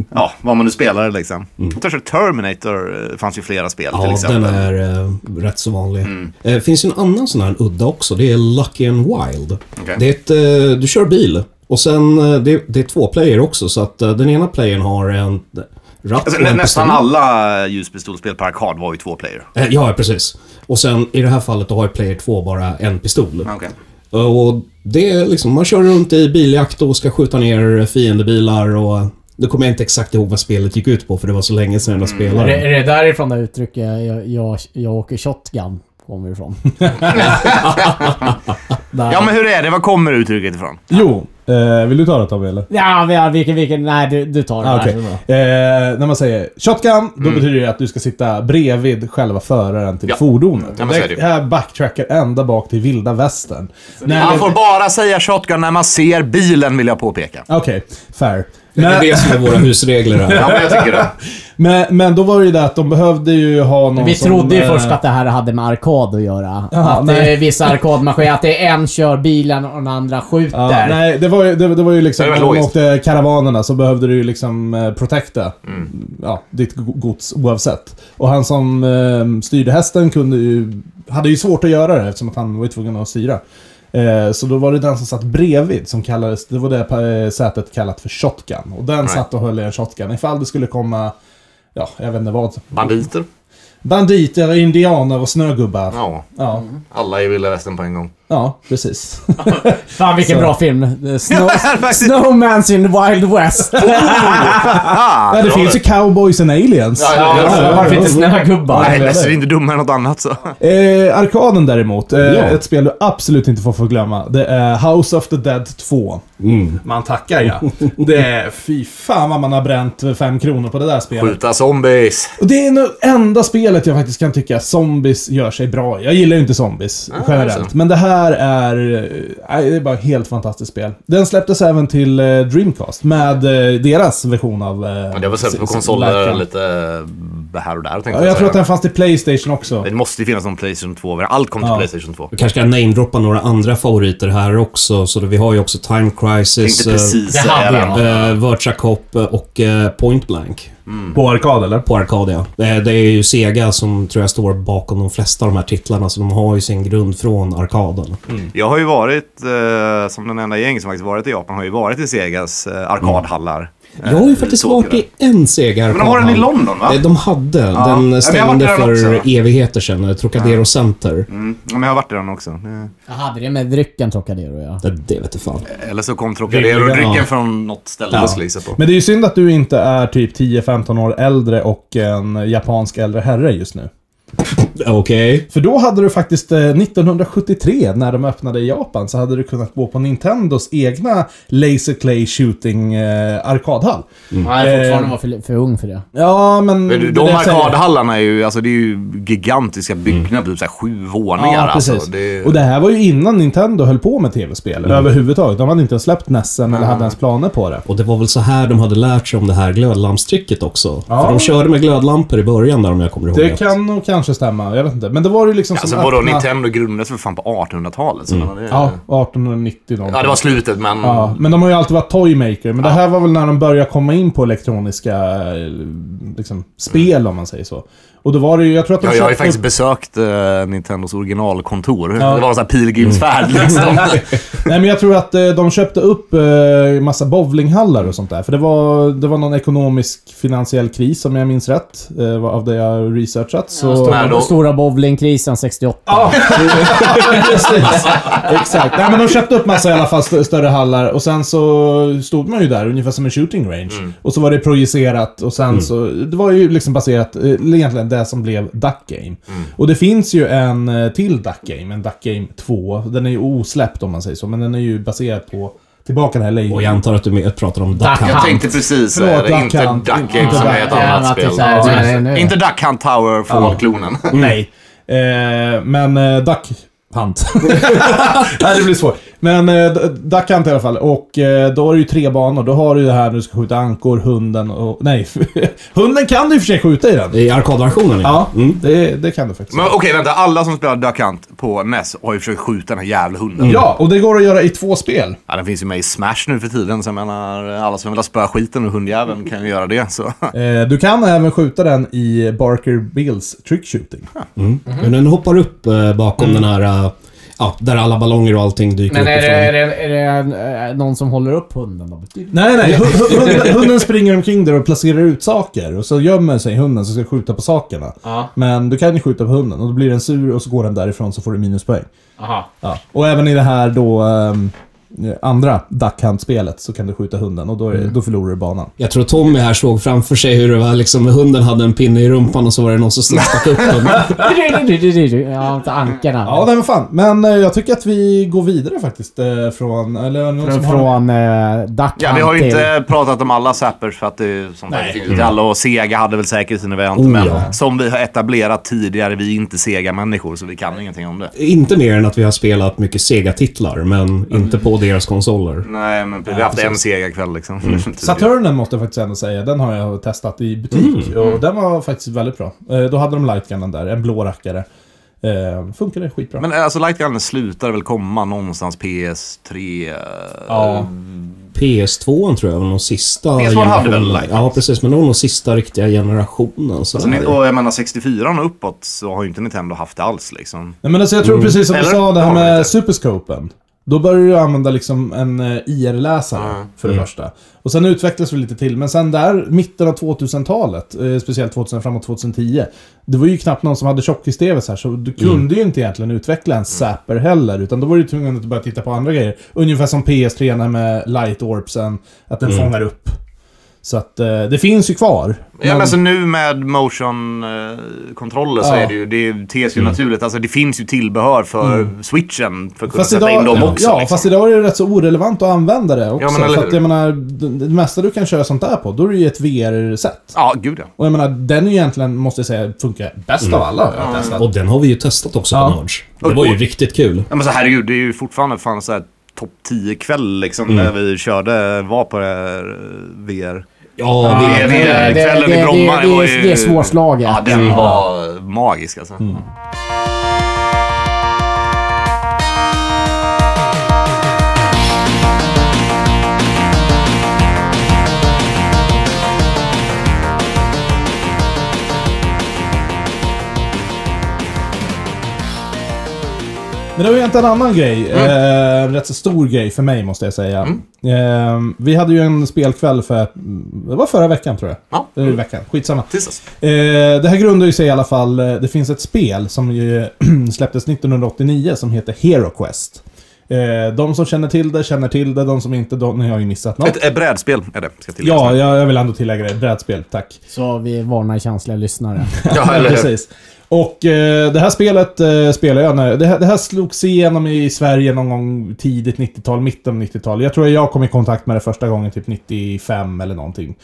*laughs* ja vad man nu spelade liksom. Jag tror att Terminator eh, fanns ju flera spel till Mm. Ja, exempel. Mm. den är eh, rätt så vanlig. Det finns ju en annan sån här udda också. Det är Lucky and Wild. Okej. Det är ett, eh, du kör bil och sen eh, det, det är två player också så att eh, den ena playern har en, ratt Alltså, och nä- en nästan pistol. alla ljuspistolspel på arkad var ju två player. Eh, Ja, precis. Och sen i det här fallet då har ju player 2 bara en pistol. Eh, Okay. Och det är liksom, man kör runt i biljakt och ska skjuta ner fiendebilar och... Nu kommer jag inte exakt ihåg vad spelet gick ut på för det var så länge sedan jag Är spelade. det, är det därifrån det uttrycket eh, jag, jag, jag åker shotgun kommer ifrån? *laughs* Där. Ja, men hur är det? Var kommer uttrycket ifrån? Jo, eh, vill du ta det Tobbe eller? Ja, vi har- vilken, vilken... Nej, du, du tar det Ah, här. okej. eh, när man säger shotgun, då betyder det att du ska sitta bredvid själva föraren till Mm. Ja. fordonet. Ja, men så är det det ju. här backtrackar ända bak till vilda västern. Nej, Man men- får bara säga shotgun när man ser bilen, vill jag påpeka. Okej, fair. Det är Men, det som är våra husregler här. *laughs* Ja, men jag tycker det. men, men då var det ju det att de behövde ju ha någon Vi som, trodde ju eh, först att det här hade med arkad att göra. Jaha, att nej. det är vissa arkadmaskiner, att det är en kör bilen och den andra skjuter. Ja, nej, det var ju, det, det var ju liksom Det var när de logiskt. åkte karavanerna så behövde du ju liksom eh, protekta Mm. ja, ditt go- gods oavsett. Och han som eh, styrde hästen kunde ju, hade ju svårt att göra det eftersom att han var ju tvungen att styra. Eh, så då var det den som satt bredvid som kallades, det var det eh, sätet kallat för shotgun. Och den Nej. satt och höll i en shotgun ifall det skulle komma, ja, jag vet inte vad. Banditer? Banditer, indianer och snögubbar. Ja, Ja, alla är vilda västern på en gång. ja precis. Fan vilken Så. bra film. *laughs* Eh, Snow, *laughs* faktiskt. Snowmans in the Wild West. Ah, Nej, det bra finns ju cowboys and aliens. Ja, ja, ja. Alltså, Varför inte Ja. snögubbar? Nej, Lasse är inte dummare än något annat så. Eh, arkaden däremot, eh, Ja. ett spel du absolut inte får förglömma. Det är House of the Dead 2. Mm. Man tackar ja. Det är, fy fan vad man har bränt fem kronor på det där spelet. Skjuta zombies. Och det är nog enda spelet jag faktiskt kan tycka zombies gör sig bra i. Jag gillar ju inte zombies Ah, generellt. alltså. Men det här är... eh, nej, det är bara ett helt fantastiskt spel. Den släpptes även till eh, Dreamcast med eh, deras version av... eh, Men det var sin- sett på sin konsoler verkan. lite eh, här och där tänkte Ja, jag tror säga. att den fanns till Playstation också. Det måste ju finnas någon Playstation 2 variant Allt kom till Ja. Playstation 2. Jag kanske kan namedroppa några andra favoriter här också. Så vi har ju också Time Crisis, Tänkte precis det säga hade det. jag. eh, Virtua Cop och eh, Point Blank. Mm. På arkad eller? på Arcadia. Eh, Det är ju Sega som tror jag står bakom de flesta av de här titlarna, så de har ju sin grund från arkaden. Jag har ju varit, eh, som den enda gäng som faktiskt varit i Japan, har ju varit i Segas eh, arkadhallar. Jag har ju faktiskt varit i en Sega Eh, Men de har den i arkadhall. London va? Eh, De hade. men jag Den har stängde varit där för också. evigheter sedan. eh, Trocadero Center. Mm, ja, men jag har varit i den också. Det- Jag hade det med drycken Trocadero ja. Det, det vet du fan. Eller så kom Trocadero-drycken ja. från något ställe Ja. jag skulle gissa på. Men det är ju synd att du inte är typ 10-15 år äldre och en japansk äldre herre just nu. Okej. För då hade du faktiskt eh, 1973, när de öppnade i Japan, så hade du kunnat gå på Nintendos egna Laser Clay Shooting eh, arkadhall. Nej, Jag är fortfarande var för, för ung för det. Ja, men... Men Mm, det du, där de jag säger- arkadhallarna är ju, alltså det är ju gigantiska byggnader, typ så här sju våningar Ja, precis. alltså. Det, Mm. Och det här var ju innan Nintendo höll på med tv-spel överhuvudtaget. De hade inte ens släppt Nessen eller Ah. hade ens planer på det. Och det var väl så här de hade lärt sig om det här glödlampstricket också. Ja. För de körde med glödlampor i början där om jag kommer ihåg Det rätt. kan nog kanske stämma, jag vet inte. Men det var ju liksom alltså som vadå, öppna- Mm. Nintendo grundades för fan på 1800-talet. Så det, Ja, 1890 någonting. ja, det var slutet men... Ja, men de har ju alltid varit toymaker. Men det här var väl när de började komma in på elektroniska eh, liksom, spel, om man säger så. Och då var det ju, jag tror att de Ja, jag har ju köpte- faktiskt besökt eh, Nintendos originalkontor. Ja. Mm. Det var en sån här pilgrimsfärd *laughs* liksom. *laughs* Nej, men jag tror att eh, de köpte upp eh, massa bowlinghallar och sånt där. För det var, det var någon ekonomisk finansiell kris, om jag minns rätt, eh, av det jag researchat. Så... Nej, då- Stora bowlingkrisen 68. Precis. *laughs* Exakt. Nej, men de köpte upp massa i alla fall st- större hallar och sen så stod man ju där ungefär som en shooting range. Mm. Och så var det projicerat och sen så... Det var ju liksom baserat, eh, egentligen det som blev Duck Game. Mm. Och det finns ju en eh, till Duck Game, en Duck Game 2. Den är ju osläppt om man säger så, men den är ju baserad på Tillbaka den här Och Lady jag antar att du med- pratar om Duck Duck Hunt. Jag tänkte precis Förlåt, säga det. Duck Inte Hunt. Duck Game Inte som Duck är ett Hunt. annat Ja, spel. precis. Ja, Precis. nej, nej. Inte Duck Hunt Tower Fallout-klonen. Nej. Eh, men eh, Duck... Hunt. *laughs* Nej, det blir svårt. Men eh, D- Duck Hunt i alla fall. Och eh, då har du ju tre banor. Då har du ju det här när du ska skjuta ankor, hunden och... Nej. *laughs* hunden kan du i och för sig skjuta i den. I arkadversionen Ja, Mm. det, det kan du *laughs* faktiskt. Men okej, vänta. Alla som spelar Duck Hunt på NES har ju försökt skjuta den här jävla hunden. Ja, och det går att göra i två spel. Ja, den finns ju med i Smash nu för tiden, så jag menar, alla som vill ha spöskiten och hundjäveln kan ju göra det. *laughs* Så. Eh, du kan även skjuta den i Barker Bills trick shooting. Mm. Men den hoppar upp eh, bakom den här... eh, ja, där alla ballonger och allting dyker Men upp är det, ifrån. är, det, är det en, eh, någon som håller upp hunden då? Nej, nej. hu- hu- Hunden, hunden springer omkring där och placerar ut saker. Och så gömmer sig hunden så ska skjuta på sakerna. Ja. Men du kan ju skjuta på hunden och då blir den sur och så går den därifrån så får du minuspoäng. Aha. Ja. Och även i det här då ehm, andra Duck Hunt-spelet så kan du skjuta hunden och då, är, Mm. då förlorar du banan. Jag tror Tommy här såg framför sig hur det var liksom, hunden hade en pinne i rumpan och så var det någon *laughs* som stack upp den. Ja, inte ankarna. Ja, nej men fan. Men eh, jag tycker att vi går vidare faktiskt eh, från... Eller är det någon Från, som har- från eh, Duck Ja, vi har ju Hunt till- inte pratat om alla zappers för att det är som sagt finns inte alla och Sega hade väl säkert sina varianter. Oh, men ja. som vi har etablerat tidigare, vi är inte Sega-människor så vi kan ingenting om det. Inte mer än att vi har spelat mycket Sega-titlar, men Mm. inte på deras konsoler. Nej, men vi har haft en Sega-kväll liksom. *laughs* Saturnen måste jag faktiskt ändå säga. Den har jag testat i butik Mm. och den var faktiskt väldigt bra. Eh, Då hade de lightgunnen där, en blå rackare. Eh, funkade skitbra. Men alltså Lightgun slutar väl komma någonstans PS3? eh, ja. PS2 tror jag var den sista PS2 hade väl Light? Ja, precis. Men det var nog sista riktiga generationen. Så Alltså, ni- och jag menar 64 och uppåt så har ju inte Nintendo haft det alls liksom. Nej, men alltså, jag tror precis som du Eller? sa det här Har de med inte? superscopen. Då börjar du använda liksom en eh, IR-läsare för det första. Och sen utvecklas det lite till. Men sen där, mitten av 2000-talet, eh, speciellt 2000 framåt 2010. Det var ju knappt någon som hade tjockis-tv så här, så du kunde ju inte egentligen utveckla Mm. en Zapper heller. Utan då var du tvungen att börja titta på andra grejer. Ungefär som PS3 när med Light Orbsen, att den fångar upp. Så att eh, det finns ju kvar. Ja, men alltså nu med motion-kontroller så Ja. Mm. är det ju, det tes ju naturligt. Alltså det finns ju tillbehör för switchen för att kunna Fast sätta idag, in dem ja, också. ja, liksom. fast idag är det rätt så orelevant att använda det också. Ja, men eller för hur? att jag menar, det, det mesta du kan köra sånt där på, då är det ju ett VR-set. ja, gud ja. Och jag menar, den är ju egentligen, måste jag säga, funkar bäst Mm. av alla har jag testat. Och den har vi ju testat också Ja. på Norge. Det var ju riktigt kul. Ja, men så herregud, det är ju fortfarande fan så här topp 10-kväll liksom Mm. när vi körde, var på det här eh, VR. Ja, Ja, vi, det- det- det- det- kvällen det- i det- Bromma, det- det var det- ju- det är svårslaget. Mm. Ja, den var magisk alltså. Mm. Men det var ju inte en annan grej. Mm. Eh, rätt så stor grej för mig, måste jag säga. Eh, vi hade ju en spelkväll för, det var förra veckan tror jag. Ja. Eller veckan, skitsamma. Tisdags. Eh, det här grundar ju sig i alla fall, eh, det finns ett spel som ju *clears throat* släpptes 1989 som heter Hero Quest. Eh, de som känner till det känner till det, de som inte, de, ni har ju missat något. Ett, ett brädspel är det, ska tilläggas. Ja, jag, jag vill ändå tillägga det. Brädspel, tack. Så vi varnar *laughs* känsliga lyssnare. *laughs* ja eller hur? Precis. Och eh, det här spelet eh, spelade jag när... Det här, det här slogs igenom i Sverige någon gång tidigt 90-tal, mitten av 90-tal. Jag tror att jag kom i kontakt med det första gången typ 95 eller någonting.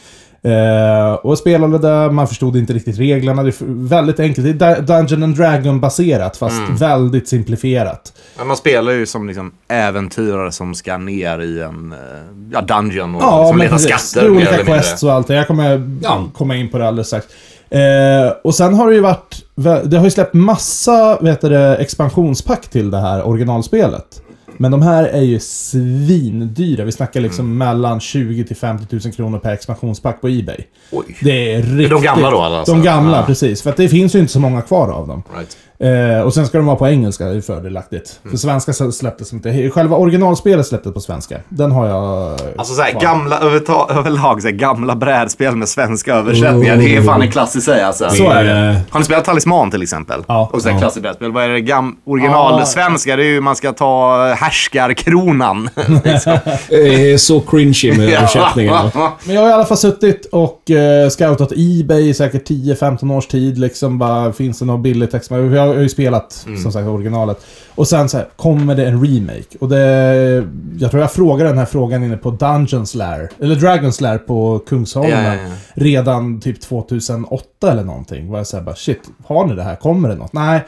Eh, och jag spelade där, man förstod inte riktigt reglerna. Det är f- väldigt enkelt. Det är Dun- Dungeon and Dragon-baserat, fast Mm. väldigt simplifierat. Ja, man spelar ju som liksom äventyrare som ska ner i en eh, ja, dungeon och Ja, liksom men leta precis. skatter. Det är mer olika eller mindre. quests och allt det. Jag kommer Ja. komma in på det alldeles strax. Eh, och sen har det ju varit... Det har ju släppt massa vet du, det, expansionspack till det här originalspelet. Men de här är ju svindyra. Vi snackar liksom Mm. mellan 20 till 50 000 kronor per expansionspack på Ebay. Oj. Det är riktigt... gamla då, alltså? De gamla, Ja. precis. För att det finns ju inte så många kvar av dem. Right. Eh, och sen ska de vara på engelska, det är ju fördelaktigt. Mm. För svenska släpptes inte. Själva originalspelet släpptes på svenska. Den har jag... Alltså såhär, kvar. gamla, överta- överlag såhär, gamla brädspel med svenska översättningar. Det är fan en klass i sig alltså. Oh. Så är det. eh, Har ni spelat Talisman till exempel? Ja. Och sådär klassiskt brädspel. Vad är det gam- originalsvenska? Det är ju man ska ta eh, *laughs* härskarkronan. liksom. eh, så cringy *laughs* med översättningarna. Men jag har i alla fall suttit och eh, scoutat Ebay i säkert 10-15 års tid. Liksom bara, finns det något billigt? Text? Men Jag har ju spelat, som sagt, originalet. Och sen så här, kommer det en remake? Och det... Jag tror jag frågade den här frågan inne på Dungeons Lair, eller Dragons Lair på Kungsholmen. Ja, ja, ja. Redan typ 2008 eller någonting. Var jag såhär bara, shit, har ni det här? Kommer det något? Nej,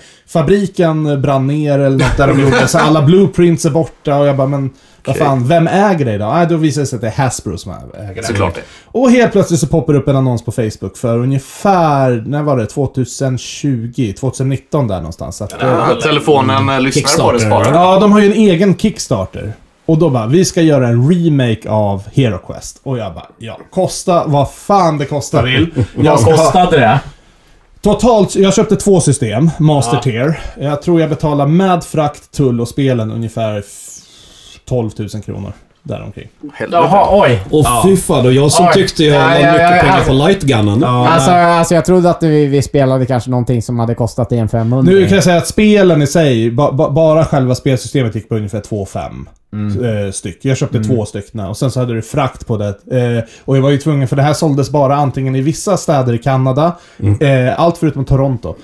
fabriken brann ner eller något där de gjorde. Så alla blueprints är borta och jag bara, men vad Okej. fan, vem äger det då? Nej, då visar det sig att det är Hasbro som äger *laughs* det. Såklart det. Och helt plötsligt så poppar det upp en annons på Facebook för ungefär, när var det? 2020? 2019 där någonstans. Att, eh, Ja, telefonen eh, lyssnar på det Kickstarter. sparar. Ja, de har ju en egen Kickstarter. Och då bara, vi ska göra en remake av Hero Quest. Och jag bara, ja, kosta vad fan det kostar vill. Jag ska ha det? Totalt, jag köpte två system, Master Tier. Jag tror jag betalar med frakt, tull och spelen ungefär f- 12 000 kronor. Däromkring. Helvete. Jaha, oj. Och fy fan, och jag som Oj. tyckte jag Ja, la ja, ja, mycket ja, pengar ja. på lightgunnen. Alltså, alltså jag trodde att vi, vi spelade kanske någonting som hade kostat en 500. Nu kan jag säga att spelen i sig, ba, ba, bara själva spelsystemet gick på ungefär 2 5 eh, styck. Jag köpte två stycken och sen så hade du frakt på det. Eh, och jag var ju tvungen, för det här såldes bara antingen i vissa städer i Kanada, eh, allt förutom Toronto.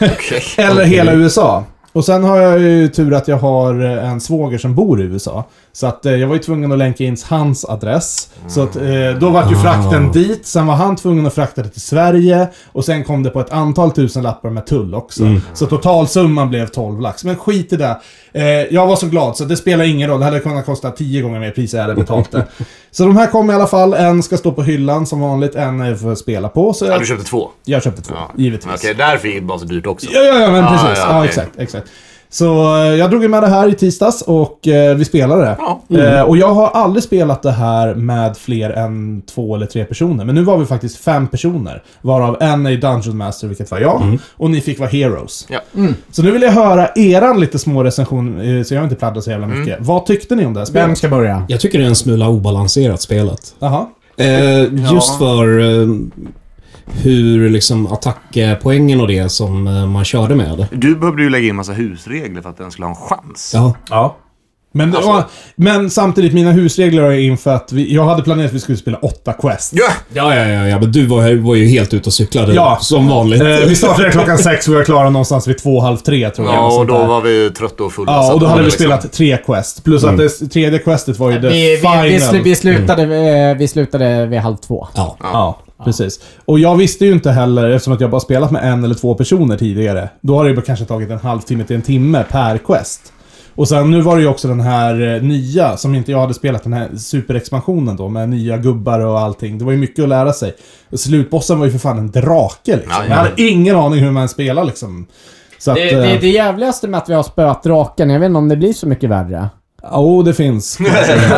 Okej. Eller hela USA. Och sen har jag ju tur att jag har eh, en svåger som bor i USA. Så att eh, jag var ju tvungen att länka in hans adress. Så att eh, då var ju frakten Ah. dit, sen var han tvungen att frakta det till Sverige. Och sen kom det på ett antal tusen lappar med tull också. Mm. Så totalsumman blev 12 lax. Men skit i det. Eh, jag var så glad så det spelar ingen roll. Det hade kunnat kosta 10 gånger mer pris jag hade betalt det. så de här kom i alla fall. En ska stå på hyllan som vanligt, en är för att spela på. Så Ja, jag, du köpte två? jag köpte två, Ja. givetvis. Okej, därför gick det bara så dyrt också. Ja, ja, ja men Ah, precis. ja, Ja, okej. exakt, exakt. Så eh, jag drog ju med det här i tisdags och eh, vi spelade det. Ja. Eh, och jag har aldrig spelat det här med fler än två eller tre personer. Men nu var vi faktiskt fem personer. Varav en är Dungeon Master, vilket var jag. Och ni fick vara Heroes. Mm. Ja. Så nu vill jag höra eran lite små recension, eh, så jag har inte pladdrat så jävla Mm. mycket. Vad tyckte ni om det här Vem spelet? ska börja? Jag tycker det är en smula obalanserat spelet. Jaha. Eh, just för eh, hur liksom attackpoängen och det som eh, man körde med. Du behövde ju lägga in massa husregler för att den skulle ha en chans. Ja. Ja. Men, Alltså- och, men samtidigt, mina husregler är inför att vi, jag hade planerat att vi skulle spela åtta quest. Ja! Ja, ja, ja, ja, men du var, var ju helt ute och cyklade Ja. som vanligt. Eh, vi startade klockan sex och vi var klara någonstans vid två, halv tre tror jag. Ja, något och sånt då där. var vi trötta och fulla. ja, så och då att hade det vi liksom- spelat tre quest. Plus att det s- tredje questet var ju det Vi, vi, vi, final. slu, vi, slutade, eh, vi slutade vid halv två. Ja. Ja, precis. Och jag visste ju inte heller, eftersom att jag bara spelat med en eller två personer tidigare. Då har det ju kanske tagit en halvtimme till en timme per quest. Och sen nu var det ju också den här eh, nya, som inte jag hade spelat, den här superexpansionen då med nya gubbar och allting. Det var ju mycket att lära sig. Slutbossen var ju för fan en drake liksom. Ja, ja. Jag hade ingen aning hur man spelar liksom. Så att... Det, det, eh, det jävligaste med att vi har spöat draken, jag vet inte om det blir så mycket värre. *laughs* Ja, oh, det finns. Ja,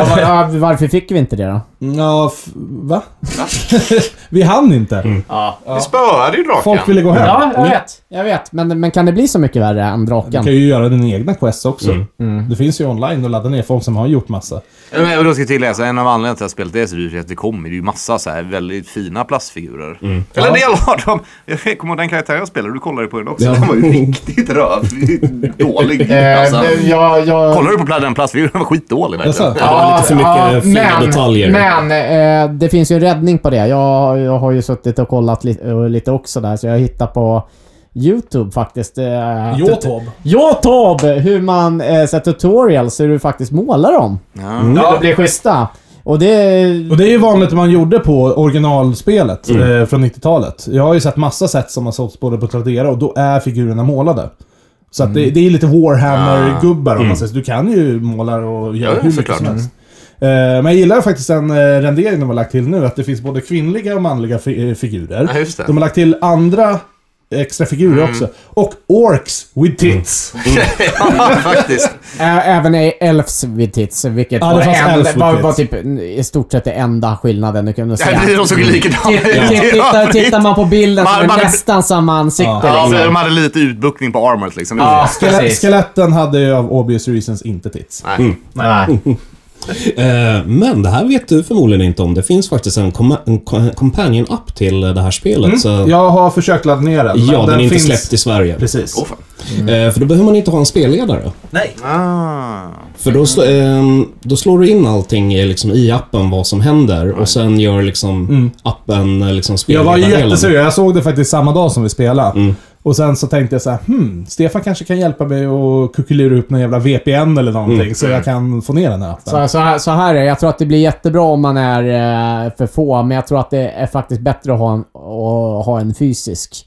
var- ja, varför fick vi inte det då? Ja, f- va? *laughs* vi hann inte. Ja. Vi spöade ju draken. Folk ville gå hem. Ja, jag vet. Jag vet, men, men kan det bli så mycket värre än Du draken? kan ju göra dina egna quests också. Det finns ju online att ladda ner folk som har gjort massa. Ja, men Jag då ska jag tillägga, så en av anledningarna till att spelet är så dyrt är att det kommer ju massa så här väldigt fina plastfigurer. Eller en del av dem. Jag kommer ihåg den karaktär jag spelade, du kollade ju på den också. Den var ju riktigt röv. Dålig. Alltså, Eh, jag, jag... kollar du på pla- den plastfiguren? Den var skitdålig verkligen. Jaså? det var lite för mycket fina men, detaljer. Men eh, det finns ju en räddning på det. Jag, jag har ju suttit och kollat lite, eh, lite också där, så jag hittar på YouTube faktiskt. Eh, tut- Youtube! Hur man eh, så här tutorials, hur du faktiskt målar dem. Ja. Ja. Det blir schyssta. Och det... Mm. Och det är ju vanligt man gjorde på originalspelet Mm. eh, från 90-talet. Jag har ju sett massa sätt som har sålts både på Tradera och då är figurerna målade. Så att det, Mm. det är lite Warhammer-gubbar om man säger så. Du kan ju måla och göra Ah. Ja, hur mycket såklart. Mm. som helst. Eh, Men jag gillar faktiskt den eh, rendering de har lagt till nu, att det finns både kvinnliga och manliga fi- eh, figurer. Ja, just det. Mm. De har lagt till andra extra figurer också. Och orks with *laughs* tits. Ja, faktiskt. Ä- Även i Elfs with tits, vilket Ja, det var, fanns en, Elfs with var, tits. var typ i stort sett det enda skillnaden du kunde säga. De såg ju likadana ut. Titt- i Tittar, övrigt. tittar man på bilden så Man- är man- det nästan samma ansikte. Ja, liksom. för de hade lite utbuktning på armoret liksom. Det var- Skele- skeletten hade ju av obvious reasons inte tits. Nej. Nej. Eh, Men det här vet du förmodligen inte om. Det finns faktiskt en, komma- en ko- companion app till det här spelet. så, ja, Jag har försökt ladda ner Mm. den, den, är inte släppt i Sverige. Precis. Åh, fan. Eh, För då behöver man inte ha en spelledare. Ah. För då, sl- ehm, då slår du in allting i, liksom, i appen vad som händer och sen gör liksom appen eh, liksom Mm. Jag var spelledardelen. jätteseriös. Jag såg det faktiskt samma dag som vi spelade. Och sen så tänkte jag så här, hmm, Stefan kanske kan hjälpa mig att kuckelura upp någon jävla VPN eller någonting så jag kan få ner den här appen. Så, så, här, så här är det. Jag tror att det blir jättebra om man är eh, för få, men jag tror att det är faktiskt bättre att ha en, att ha en fysisk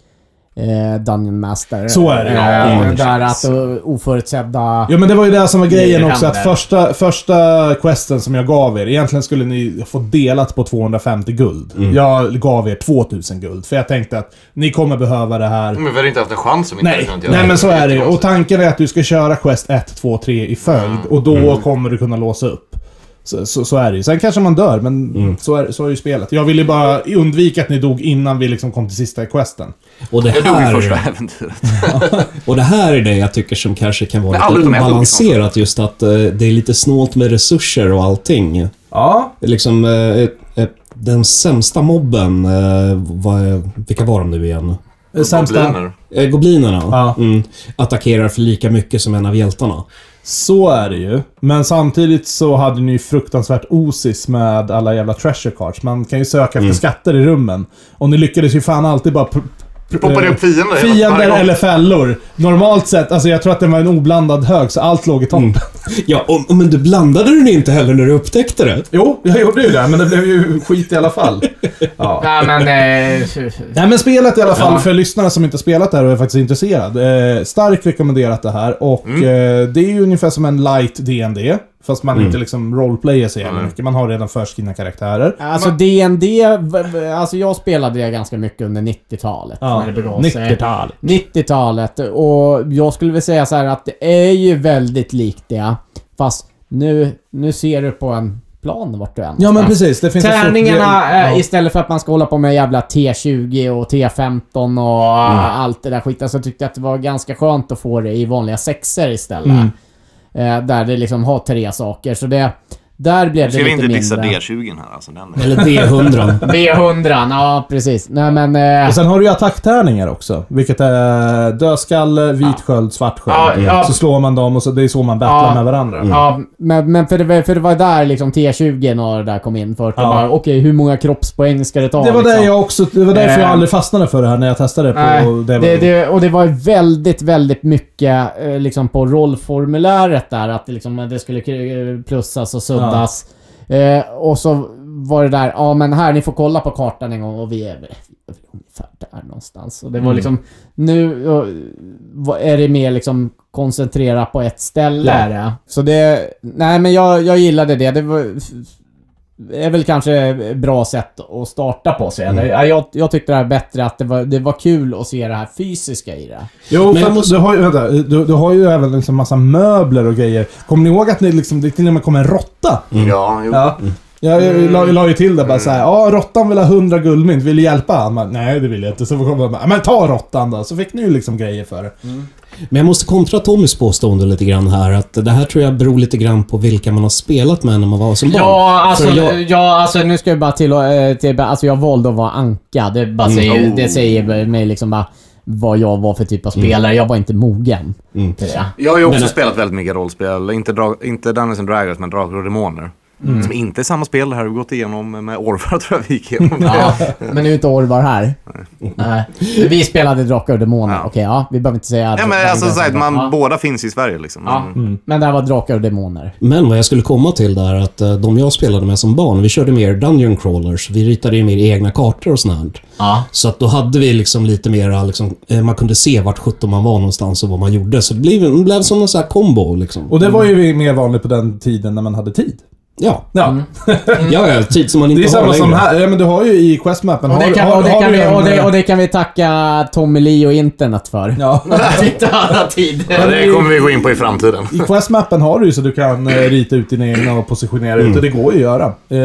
eh, Dungeon Master. Så är det, ja. Eh, Mm. Där att eh, oförutsedda... Ja men det var ju det som var grejen Grejer också, att händer. första, första questen som jag gav er, egentligen skulle ni få delat på 250 guld. Jag gav er 2000 guld, för jag tänkte att ni kommer behöva det här. Men vi hade inte haft en chans om inte hade Nej, kunnat göra nej men så är det ju. Och Jättekonstigt. Mm. tanken är att du ska köra Quest 1, 2, 3 i följd och då kommer du kunna låsa upp. Så, så, så är det ju. Sen kanske man dör, men Mm. så, är, så är ju spelet. Jag ville bara undvika att ni dog innan vi liksom kom till sista questen. Och det Jag dog i första här, äventyret. och det här är det jag tycker som kanske kan Men vara alla lite utom jag dog, obalanserat. Just att eh, det är lite snålt med resurser och allting. Ja. Liksom, eh, eh, den sämsta mobben, eh, vad, vilka var de nu igen? Sämsta... Eh, Goblinerna Ja. mm, attackerar för lika mycket som en av hjältarna. Så är det ju. Men samtidigt så hade ni ju fruktansvärt osis med alla jävla treasure cards. Man kan ju söka Mm. efter skatter i rummen. Och ni lyckades ju fan alltid bara... pr- pr- Poppar det eh, upp fiender? Varje gång. Fiender eller fällor. Normalt sett, alltså jag tror att det var en oblandad hög, så allt låg i toppen. Ja, och, och, men du blandade den inte heller när du upptäckte det. Jo, jag gjorde ju det, men det blev ju skit i alla fall. Ja. Nej men... Eh, Nej men spelet i alla fall, Ja. för lyssnare som inte spelat det här och är faktiskt intresserad. Eh, starkt rekommenderat det här och eh, det är ju ungefär som en light D&D Fast man inte liksom roleplayar så jävla mycket. Man har redan förskrivna karaktärer. alltså D&D v- v- Alltså jag spelade det ganska mycket under 90-talet. Ja, När det begav sig. 90-tal. 90-talet. Och jag skulle väl säga så här att det är ju väldigt likt det. Fast nu, nu ser du på en plan vart du än Ja men precis, det finns ett stort- Tärningarna eh, Ja. istället för att man ska hålla på med jävla T20 och T15 och Mm. eh, allt det där skiten så tyckte jag att det var ganska skönt att få det i vanliga sexer istället. Mm. Eh, där det liksom har tre saker. Så det... Där blev det Ska vi lite inte mindre. dissa D20 här alltså? Den är... Eller *laughs* D100. B100, ja precis. Nej men... Eh, Och sen har du ju attacktärningar också. Vilket är dödskalle, vit sköld, svart sköld. Ja, ja. Så slår man dem och så, det är så man battlar Ja. med varandra. Ja, men, men för, det, var- för det var där liksom T20 och det där kom in för. att de Ja. bara, Okej, hur många kroppspoäng ska det ta? Det var, liksom? det jag också, det var därför jag Eh. aldrig fastnade för det här när jag testade på Nej, det. det, det, och det var väldigt, väldigt mycket eh, liksom på rollformuläret där. Att det, liksom, eh, det skulle eh, plussas och suddas. Eh, och så var det där, ja men här, ni får kolla på kartan en gång och vi är väl ungefär där någonstans. Och det var liksom, nu eh, vad- är det mer liksom koncentrera på ett ställe. Ja. är det. Så det, nej men jag, jag gillade det. Det var, är väl kanske ett bra sätt att starta på sig. eller? Ja, Jag, jag tyckte det här är bättre, att det var, det var kul att se det här fysiska i det. Jo, Men för jag att måste- du, har ju, vänta, du, du har ju även liksom massa möbler och grejer. Kommer ni ihåg att ni liksom, det till och med kom en råtta? Ja, jo. Ja. Jag, jag, la, la ju till det bara såhär. Ja, råttan vill ha 100 guldmynt. Vill du hjälpa han? Man, Nej, det vill jag inte. Så kom man bara, men ta råttan då. Så fick ni ju liksom grejer för det. Men jag måste kontra Tommys påstående lite grann här. Att det här tror jag beror lite grann på vilka man har spelat med när man var som barn. Ja, alltså, För jag- ja, alltså nu ska jag bara till, eh, till alltså jag valde att vara anka. Det, bara säger, Mm. det säger mig liksom bara vad jag var för typ av spelare. Jag var inte mogen. till det. Jag har ju också Men- spelat väldigt mycket rollspel. Inte, dra- inte Dungeons and Dragons, men Drakar och Demoner. Mm. Som inte är samma spel. Det här har vi gått igenom med Orvar, *laughs* tror jag vi gick igenom. Ja, *laughs* men nu är inte Orvar här. Nej. Vi spelade Drakar och Demoner. Ja. Okej, ja. Vi behöver inte säga... Ja, men alltså, så här, att man, Ja. båda finns i Sverige liksom. Ja. Men- Mm. Men det här var Drakar och Demoner. Men vad jag skulle komma till där att eh, de jag spelade med som barn, vi körde mer Dungeon Crawlers. Vi ritade ju mer egna kartor och sånt här. Ja. Så att då hade vi liksom lite mera, liksom, eh, man kunde se vart sjutton man var någonstans och vad man gjorde. Så det blev, det blev som en sån här kombo liksom. Och det var ju mer vanligt på den tiden när man hade tid. ja, Ja. ja, ja, tid som man inte Det är har samma längre. som här. Ja, men du har ju i questmappen. Och har det, du- kan, har- och, det har kan du vi, en- och, det, och det kan vi tacka Tommy Lee och internet för. *laughs* Ja. Titta alla tider. Ja, det kommer vi gå in på i framtiden. I Questmappen har du ju så du kan eh, rita ut dina egna och positionera ut och det går ju att göra. Eh,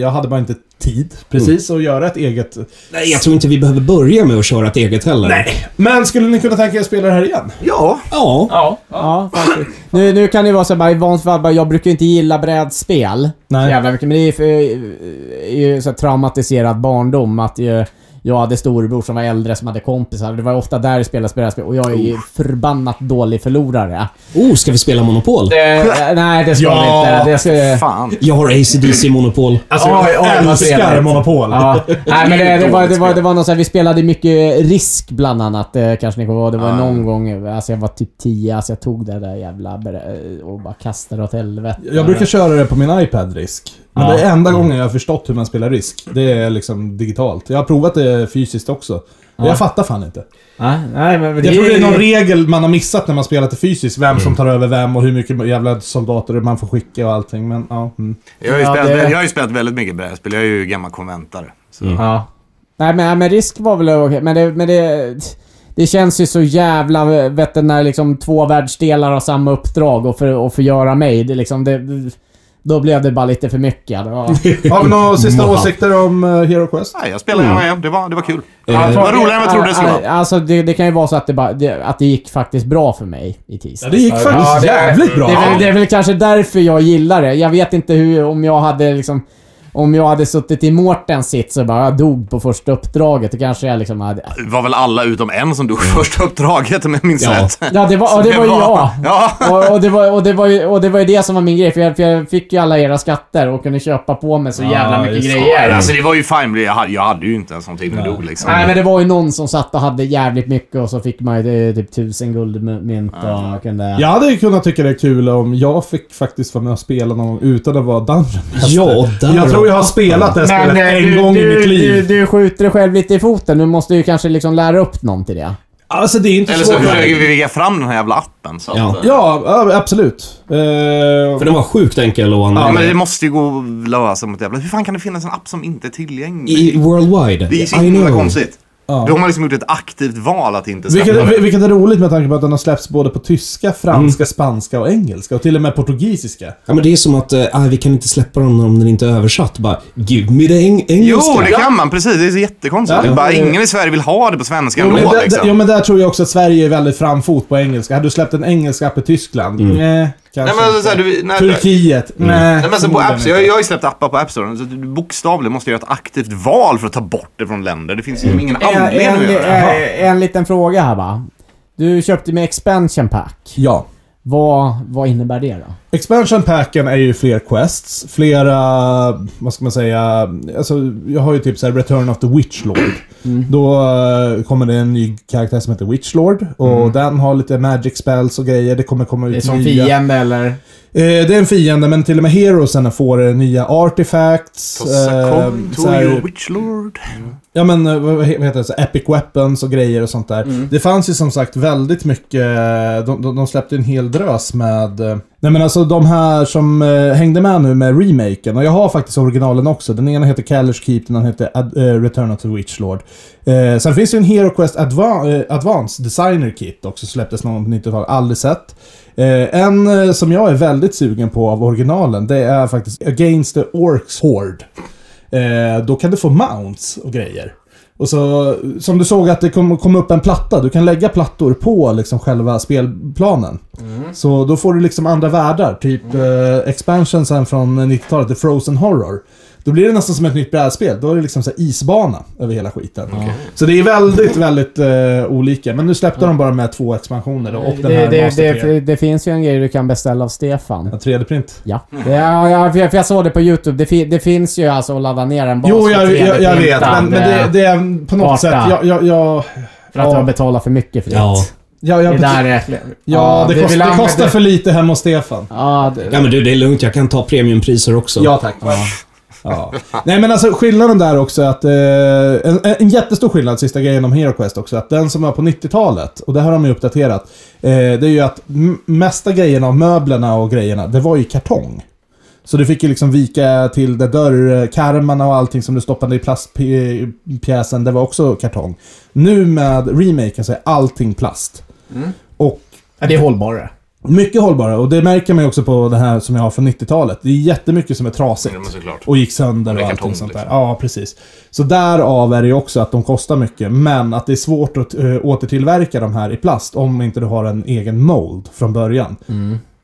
jag hade bara inte tid precis att göra ett eget. Nej, jag tror inte vi behöver börja med att köra ett eget heller. Men skulle ni kunna tänka er att spela det här igen? Ja, Ja, Ja, ja faktiskt. Nu, nu kan det vara så här, bara, i vanligt fall, bara, jag brukar ju inte gilla brädspel. Nej. Så jävla mycket. Men det är ju, för, eh, är ju så här traumatiserad barndom. Att ju, jag hade storebror som var äldre som hade kompisar. Det var ofta där det spelades brädspel. Och jag är ju förbannat dålig förlorare. oh, ska vi spela Monopol? Eh, nej, det ska Ja, vi inte. Det ska, fan. Jag har ACDC Monopol. Alltså, oj, oj, vad Älskar trevligt. Monopol. Ja. Nej, men det, det, var, det, var, spel. det var något så här, vi spelade mycket risk bland annat. eh, Kanske ni kommer ihåg. Det var någon gång, alltså jag var typ 10, alltså jag tog det där jävla bre- eh, och bara kastade åt helvete. Jag brukar köra det på min iPad Risk. Men Ja. det är enda gången jag har förstått hur man spelar Risk. Det är liksom digitalt. Jag har provat det fysiskt också. Men Jag fattar fan inte. Ja, nej, men det, Jag tror det är Mm. någon regel man har missat när man spelat det fysiskt. Vem som tar över vem och hur mycket jävla soldater man får skicka och allting. Men ja. Mm. Jag har ju, Ja, spelat, det- jag har ju spelat väldigt mycket brädspel. Jag är ju gammal konventare. Så. Ja. Nej men, men risk var väl okej, men det... Men det det känns ju så jävla... Vet du, när liksom två världsdelar har samma uppdrag och, för, och förgöra mig. Det, är liksom, det, Då blev det bara lite för mycket. *laughs* Det var... Har vi några sista åsikter om eh, Hero Quest? Nej, jag spelade Mm. gärna igen. Det var, det var kul. Eh, Det var roligare än vad jag trodde det skulle vara. Alltså, det, det kan ju vara så att det, bara, det, att det gick faktiskt bra för mig i tisdags. Ja, det gick faktiskt Ja, det- jävligt bra. Det är, väl, det är väl kanske därför jag gillar det. Jag vet inte hur, om jag hade liksom... Om jag hade suttit i Mårtens sits och bara dog på första uppdraget, då kanske jag liksom hade... Det var väl alla utom en som dog *laughs* första uppdraget om jag minns Ja. rätt. Ja, det var, ja, det var ju jag. Ja. Och, och, det var, och, det var ju, och det var ju det som var min grej, för jag, för jag fick ju alla era skatter och kunde köpa på mig så jävla Ja, mycket just det. *laughs* grejer. Alltså det var ju fine, jag hade, jag hade ju inte en sån tid när jag dog liksom. Nej men det var ju någon som satt och hade jävligt mycket och så fick man ju eh, typ tusen guldmynt och kunde... Jag hade ju kunnat tycka det är kul om jag fick faktiskt vara med och spela någon gång utan att vara dungeon master. Ja, där Jag tror jag har spelat det här Men spelet eh, en du, gång du, i mitt liv. Du, du skjuter dig själv lite i foten. Du måste ju kanske liksom lära upp någon till det. Alltså det är inte Eller svårt. så försöker vi vika fram den här jävla appen. Så att, Ja. eh, Ja, ja, absolut. Eh, För den var sjukt enkel att ja, men använda. det måste ju gå att lösa mot jävla... Hur fan kan det finnas en app som inte är tillgänglig? I Worldwide. Det är så I himla know. konstigt. Ja. Då har man liksom gjort ett aktivt val att inte skaffa vilket, det. vil- vilket är roligt med tanke på att den har släppts både på tyska, Mm. franska, spanska och engelska. Och till och med portugisiska. Ja, men det är som att eh, ah, vi kan inte släppa den om den inte är översatt. Bara, give me the eng- engelska. Jo, det kan man. Precis. Det är så jättekonstigt. Ja. Det är bara, Ja. ingen i Sverige vill ha det på svenska Jo men, ändå. där, liksom. jo men där tror jag också att Sverige är väldigt framfot på engelska. Hade du släppt en engelsk app i Tyskland? Nej, Mm. Nej, kanske men alltså, inte. så här, du, nej, Turkiet? Nej. nej, men så på förmodligen apps, inte. jag, jag har ju släppt appar på App Store. Så du bokstavligen måste göra ett aktivt val för att ta bort det från länder. Det finns ju ingen anledning en, att en, göra det. eh, en liten fråga här va. Du köpte med expansion pack. Ja. Vad, vad innebär det då? Expansion packen är ju fler quests, flera, vad ska man säga, alltså jag har ju typ så här Return of the Witchlord. Mm. Då eh, kommer det en ny karaktär som heter Witchlord och den har lite magic spells och grejer. Det kommer komma ut Mm. Det är som nya. fiende eller? Eh, det är en fiende men till och med heroesen får eh, nya artifacts. eh, så Tossakom, här- Toyo, Witchlord. Ja men eh, vad vad heter det? Så epic weapons och grejer och sånt där. Det fanns ju som sagt väldigt mycket. eh, De, de, de släppte en hel drös med... eh, Nej men alltså de här som eh, hängde med nu med remaken. Och jag har faktiskt originalen också. Den ena heter Callish Keep, den andra heter Ad, eh, Return of the Witchlord. Eh, sen finns det ju en Hero Quest Adva- eh, Advanced Designer Kit också. Släpptes någon på 90-talet. Aldrig sett. Eh, en eh, som jag är väldigt sugen på av originalen. Det är faktiskt Against the Orcs Horde. Eh, då kan du få mounts och grejer. Och så, som du såg att det kom, kom upp en platta, du kan lägga plattor på liksom själva spelplanen. Mm. Så då får du liksom andra världar, typ eh, expansion sen från 90-talet, The Frozen Horror. Då blir det nästan som ett nytt brädspel, då är det liksom så här isbana över hela skiten. Så det är väldigt, väldigt eh, olika. Men nu släppte de bara med två expansioner då, och Det, den här det, Master det, 3. det, det finns ju en grej du kan beställa av Stefan. Ja, 3D-print. Ja. ja, ja för, jag, för jag såg det på YouTube. Det, fi, det finns ju alltså att ladda ner en bas Jo, med jag, jag, jag vet. 3D-printad, Men, men det, det är på något karta. sätt... Jag, jag, jag, För att ja. jag betalar för mycket för det. Ja. jag, jag Det där är... Ja, det, vi kost, vill det använda- kostar för lite hemma hos Stefan. Ja, det, Ja, men du, det är lugnt. Jag kan ta premiumpriser också. tack. Ja. Ja. Nej men alltså skillnaden där också är att eh, en, en jättestor skillnad, sista grejen om Hero Quest också, att den som var på 90-talet, och det här har de ju uppdaterat, eh, det är ju att m- mesta grejerna av möblerna och grejerna, det var ju kartong. Så du fick ju liksom vika till där dörrkarmarna och allting som du stoppade i plastpjäsen, det var också kartong. Nu med remaken så är allting plast. Mm. Och ja, det är hållbarare. Mycket hållbara och det märker man ju också på det här som jag har från 90-talet. Det är jättemycket som är trasigt. Ja, men såklart. och gick sönder Det och är allting kartong, sånt där. liksom. Ja, precis. Så därav är det ju också att de kostar mycket. Men att det är svårt att eh, återtillverka de här i plast om inte du har en egen mold från början.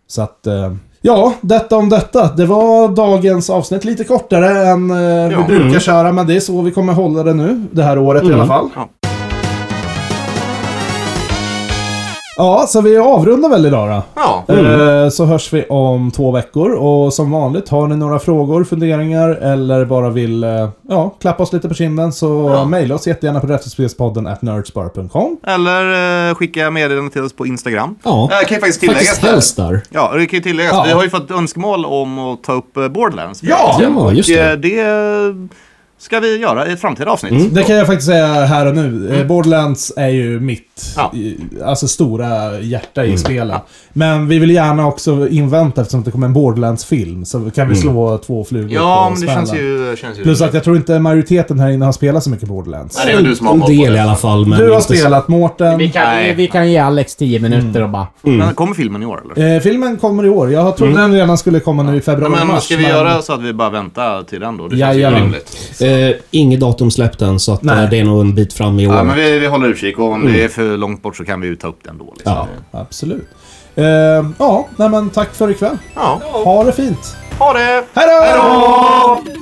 Så att... eh, Ja, detta om detta. Det var dagens avsnitt. Lite kortare än eh, vi brukar köra, men det är så vi kommer hålla det nu. Det här året i alla fall. Ja. Ja, så vi avrundar väl idag då. Ja. Mm. Eh, Så hörs vi om två veckor och som vanligt har ni några frågor, funderingar eller bara vill eh, ja, klappa oss lite på kinden så mejla oss jättegärna på rättvispelspodden at nerdspar.com. Eller eh, skicka meddelanden till oss på Instagram. Ja. Eh, kan ju faktiskt tilläggas Faktiskt där. helst där. Ja, det kan ju tilläggas. Ja. Vi har ju fått önskemål om att ta upp eh, Borderlands. Ja! Ja, just Och, det. eh, det ska vi göra i ett framtida avsnitt. Mm. Det kan jag faktiskt säga här och nu. Eh, Borderlands är ju mitt Mm. Ja. Mm. eh, alltså stora hjärta i spelen. Men vi vill gärna också invänta, eftersom det kommer en Borderlands-film, så kan vi slå två flugor Mm. Ja, på men det smällen. känns ju... Känns ju Plus att jag tror inte majoriteten här inne har spelat så mycket Borderlands. Nej, det är väl du som har En koll på del det. i alla fall, men du har inte så- spelat Mårten. Vi kan, Nej. vi kan ge Alex 10 minuter och bara... Mm. Men kommer filmen i år eller? Eh, filmen kommer i år. Jag trodde den redan skulle komma nu i februari, Mm. Ja, men mars. ska vi men- göra så att vi bara väntar till den då? Det känns ju Jajamän. rimligt. Eh, inget datum släppt än, så att, Nej. eh, det är nog en bit fram i år. Ja, men vi, vi håller utkik och om det är för långt bort så kan vi ju ta upp den då. Liksom. Ja. Absolut. Eh, ja, nej men tack för ikväll. ja. Ha det fint. Ha det! Hej då!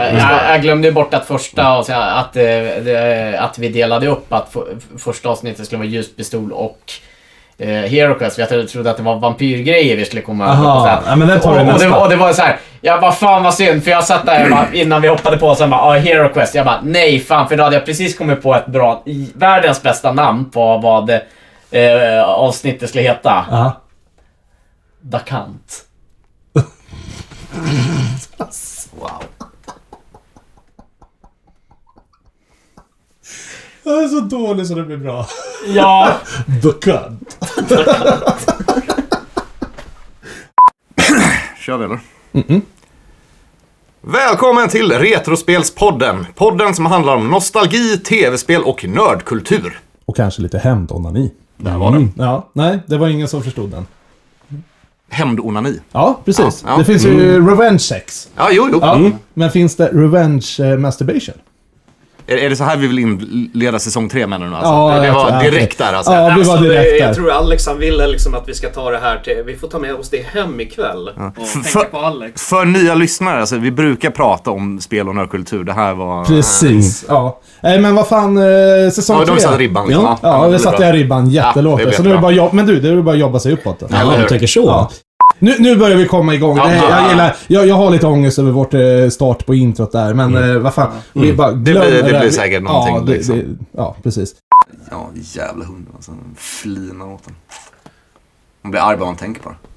Mm. Jag, jag glömde ju bort att första och så här, att, eh, det- att vi delade upp att för- första avsnittet skulle vara ljuspistol och eh, Hero Quest. Jag trodde- trodde att det var vampyrgrejer vi skulle komma över på så här. ja, men den Och, och, det, var- och det var så här, jag bara fan vad synd för jag satt där jag bara, innan vi hoppade på och sen bara ah, Hero Quest. Jag bara nej fan för då hade jag precis kommit på ett bra, i- världens bästa namn på vad eh, avsnittet skulle heta. Ja. Dakant. wow. Jag är så dålig så det blir *laughs* bra. Ja. Duckant. Kör vi eller? Mm-hmm. Välkommen till Retrospelspodden. Podden som handlar om nostalgi, tv-spel och nördkultur. Och kanske lite Mm. hämndonani. Där var det. Ja, nej, det var ingen som förstod den. Hämndonani. Ja, precis. Ja, Mm. ja. Det finns ju revenge sex. Ja, jo, Mm. jo. Ja. Men finns det revenge eh, masturbation? Är, är det så här vi vill inleda säsong tre menar du nu? Alltså? Ja, det, det jag var tror- ja, direkt där alltså. Ja, vi var Alltså, det, direkt jag där. tror Alex han ville liksom att vi ska ta det här till... Vi får ta med oss det hem ikväll. Och För- tänka för- på Alex. För nya lyssnare, alltså, vi brukar prata om spel och nördkultur. Det här var... Precis, ja. Nej, men vad fan, eh, säsong Ja, tre. de satte ribban liksom. Ja. Ja, det där blir satte bra. jag ribban jättelågt. Ja, det är så nu är det bra. bara jobb... Men du, det är bara att jobba sig uppåt. Då. Ja, Eller hur? du tänker så. Ja. Nu, nu börjar vi komma igång. Ja, det, ja, jag, ja. gillar, jag, jag har lite ångest över vårt eh, start på introt där, men eh, vad fan. Vi bara glömmer blir- Mm. det blir Vi- säkert ja, någonting, det, liksom. det, ja, precis. Ja, jävla hund alltså. Flinar åt den. Man blir arg bara man tänker på det.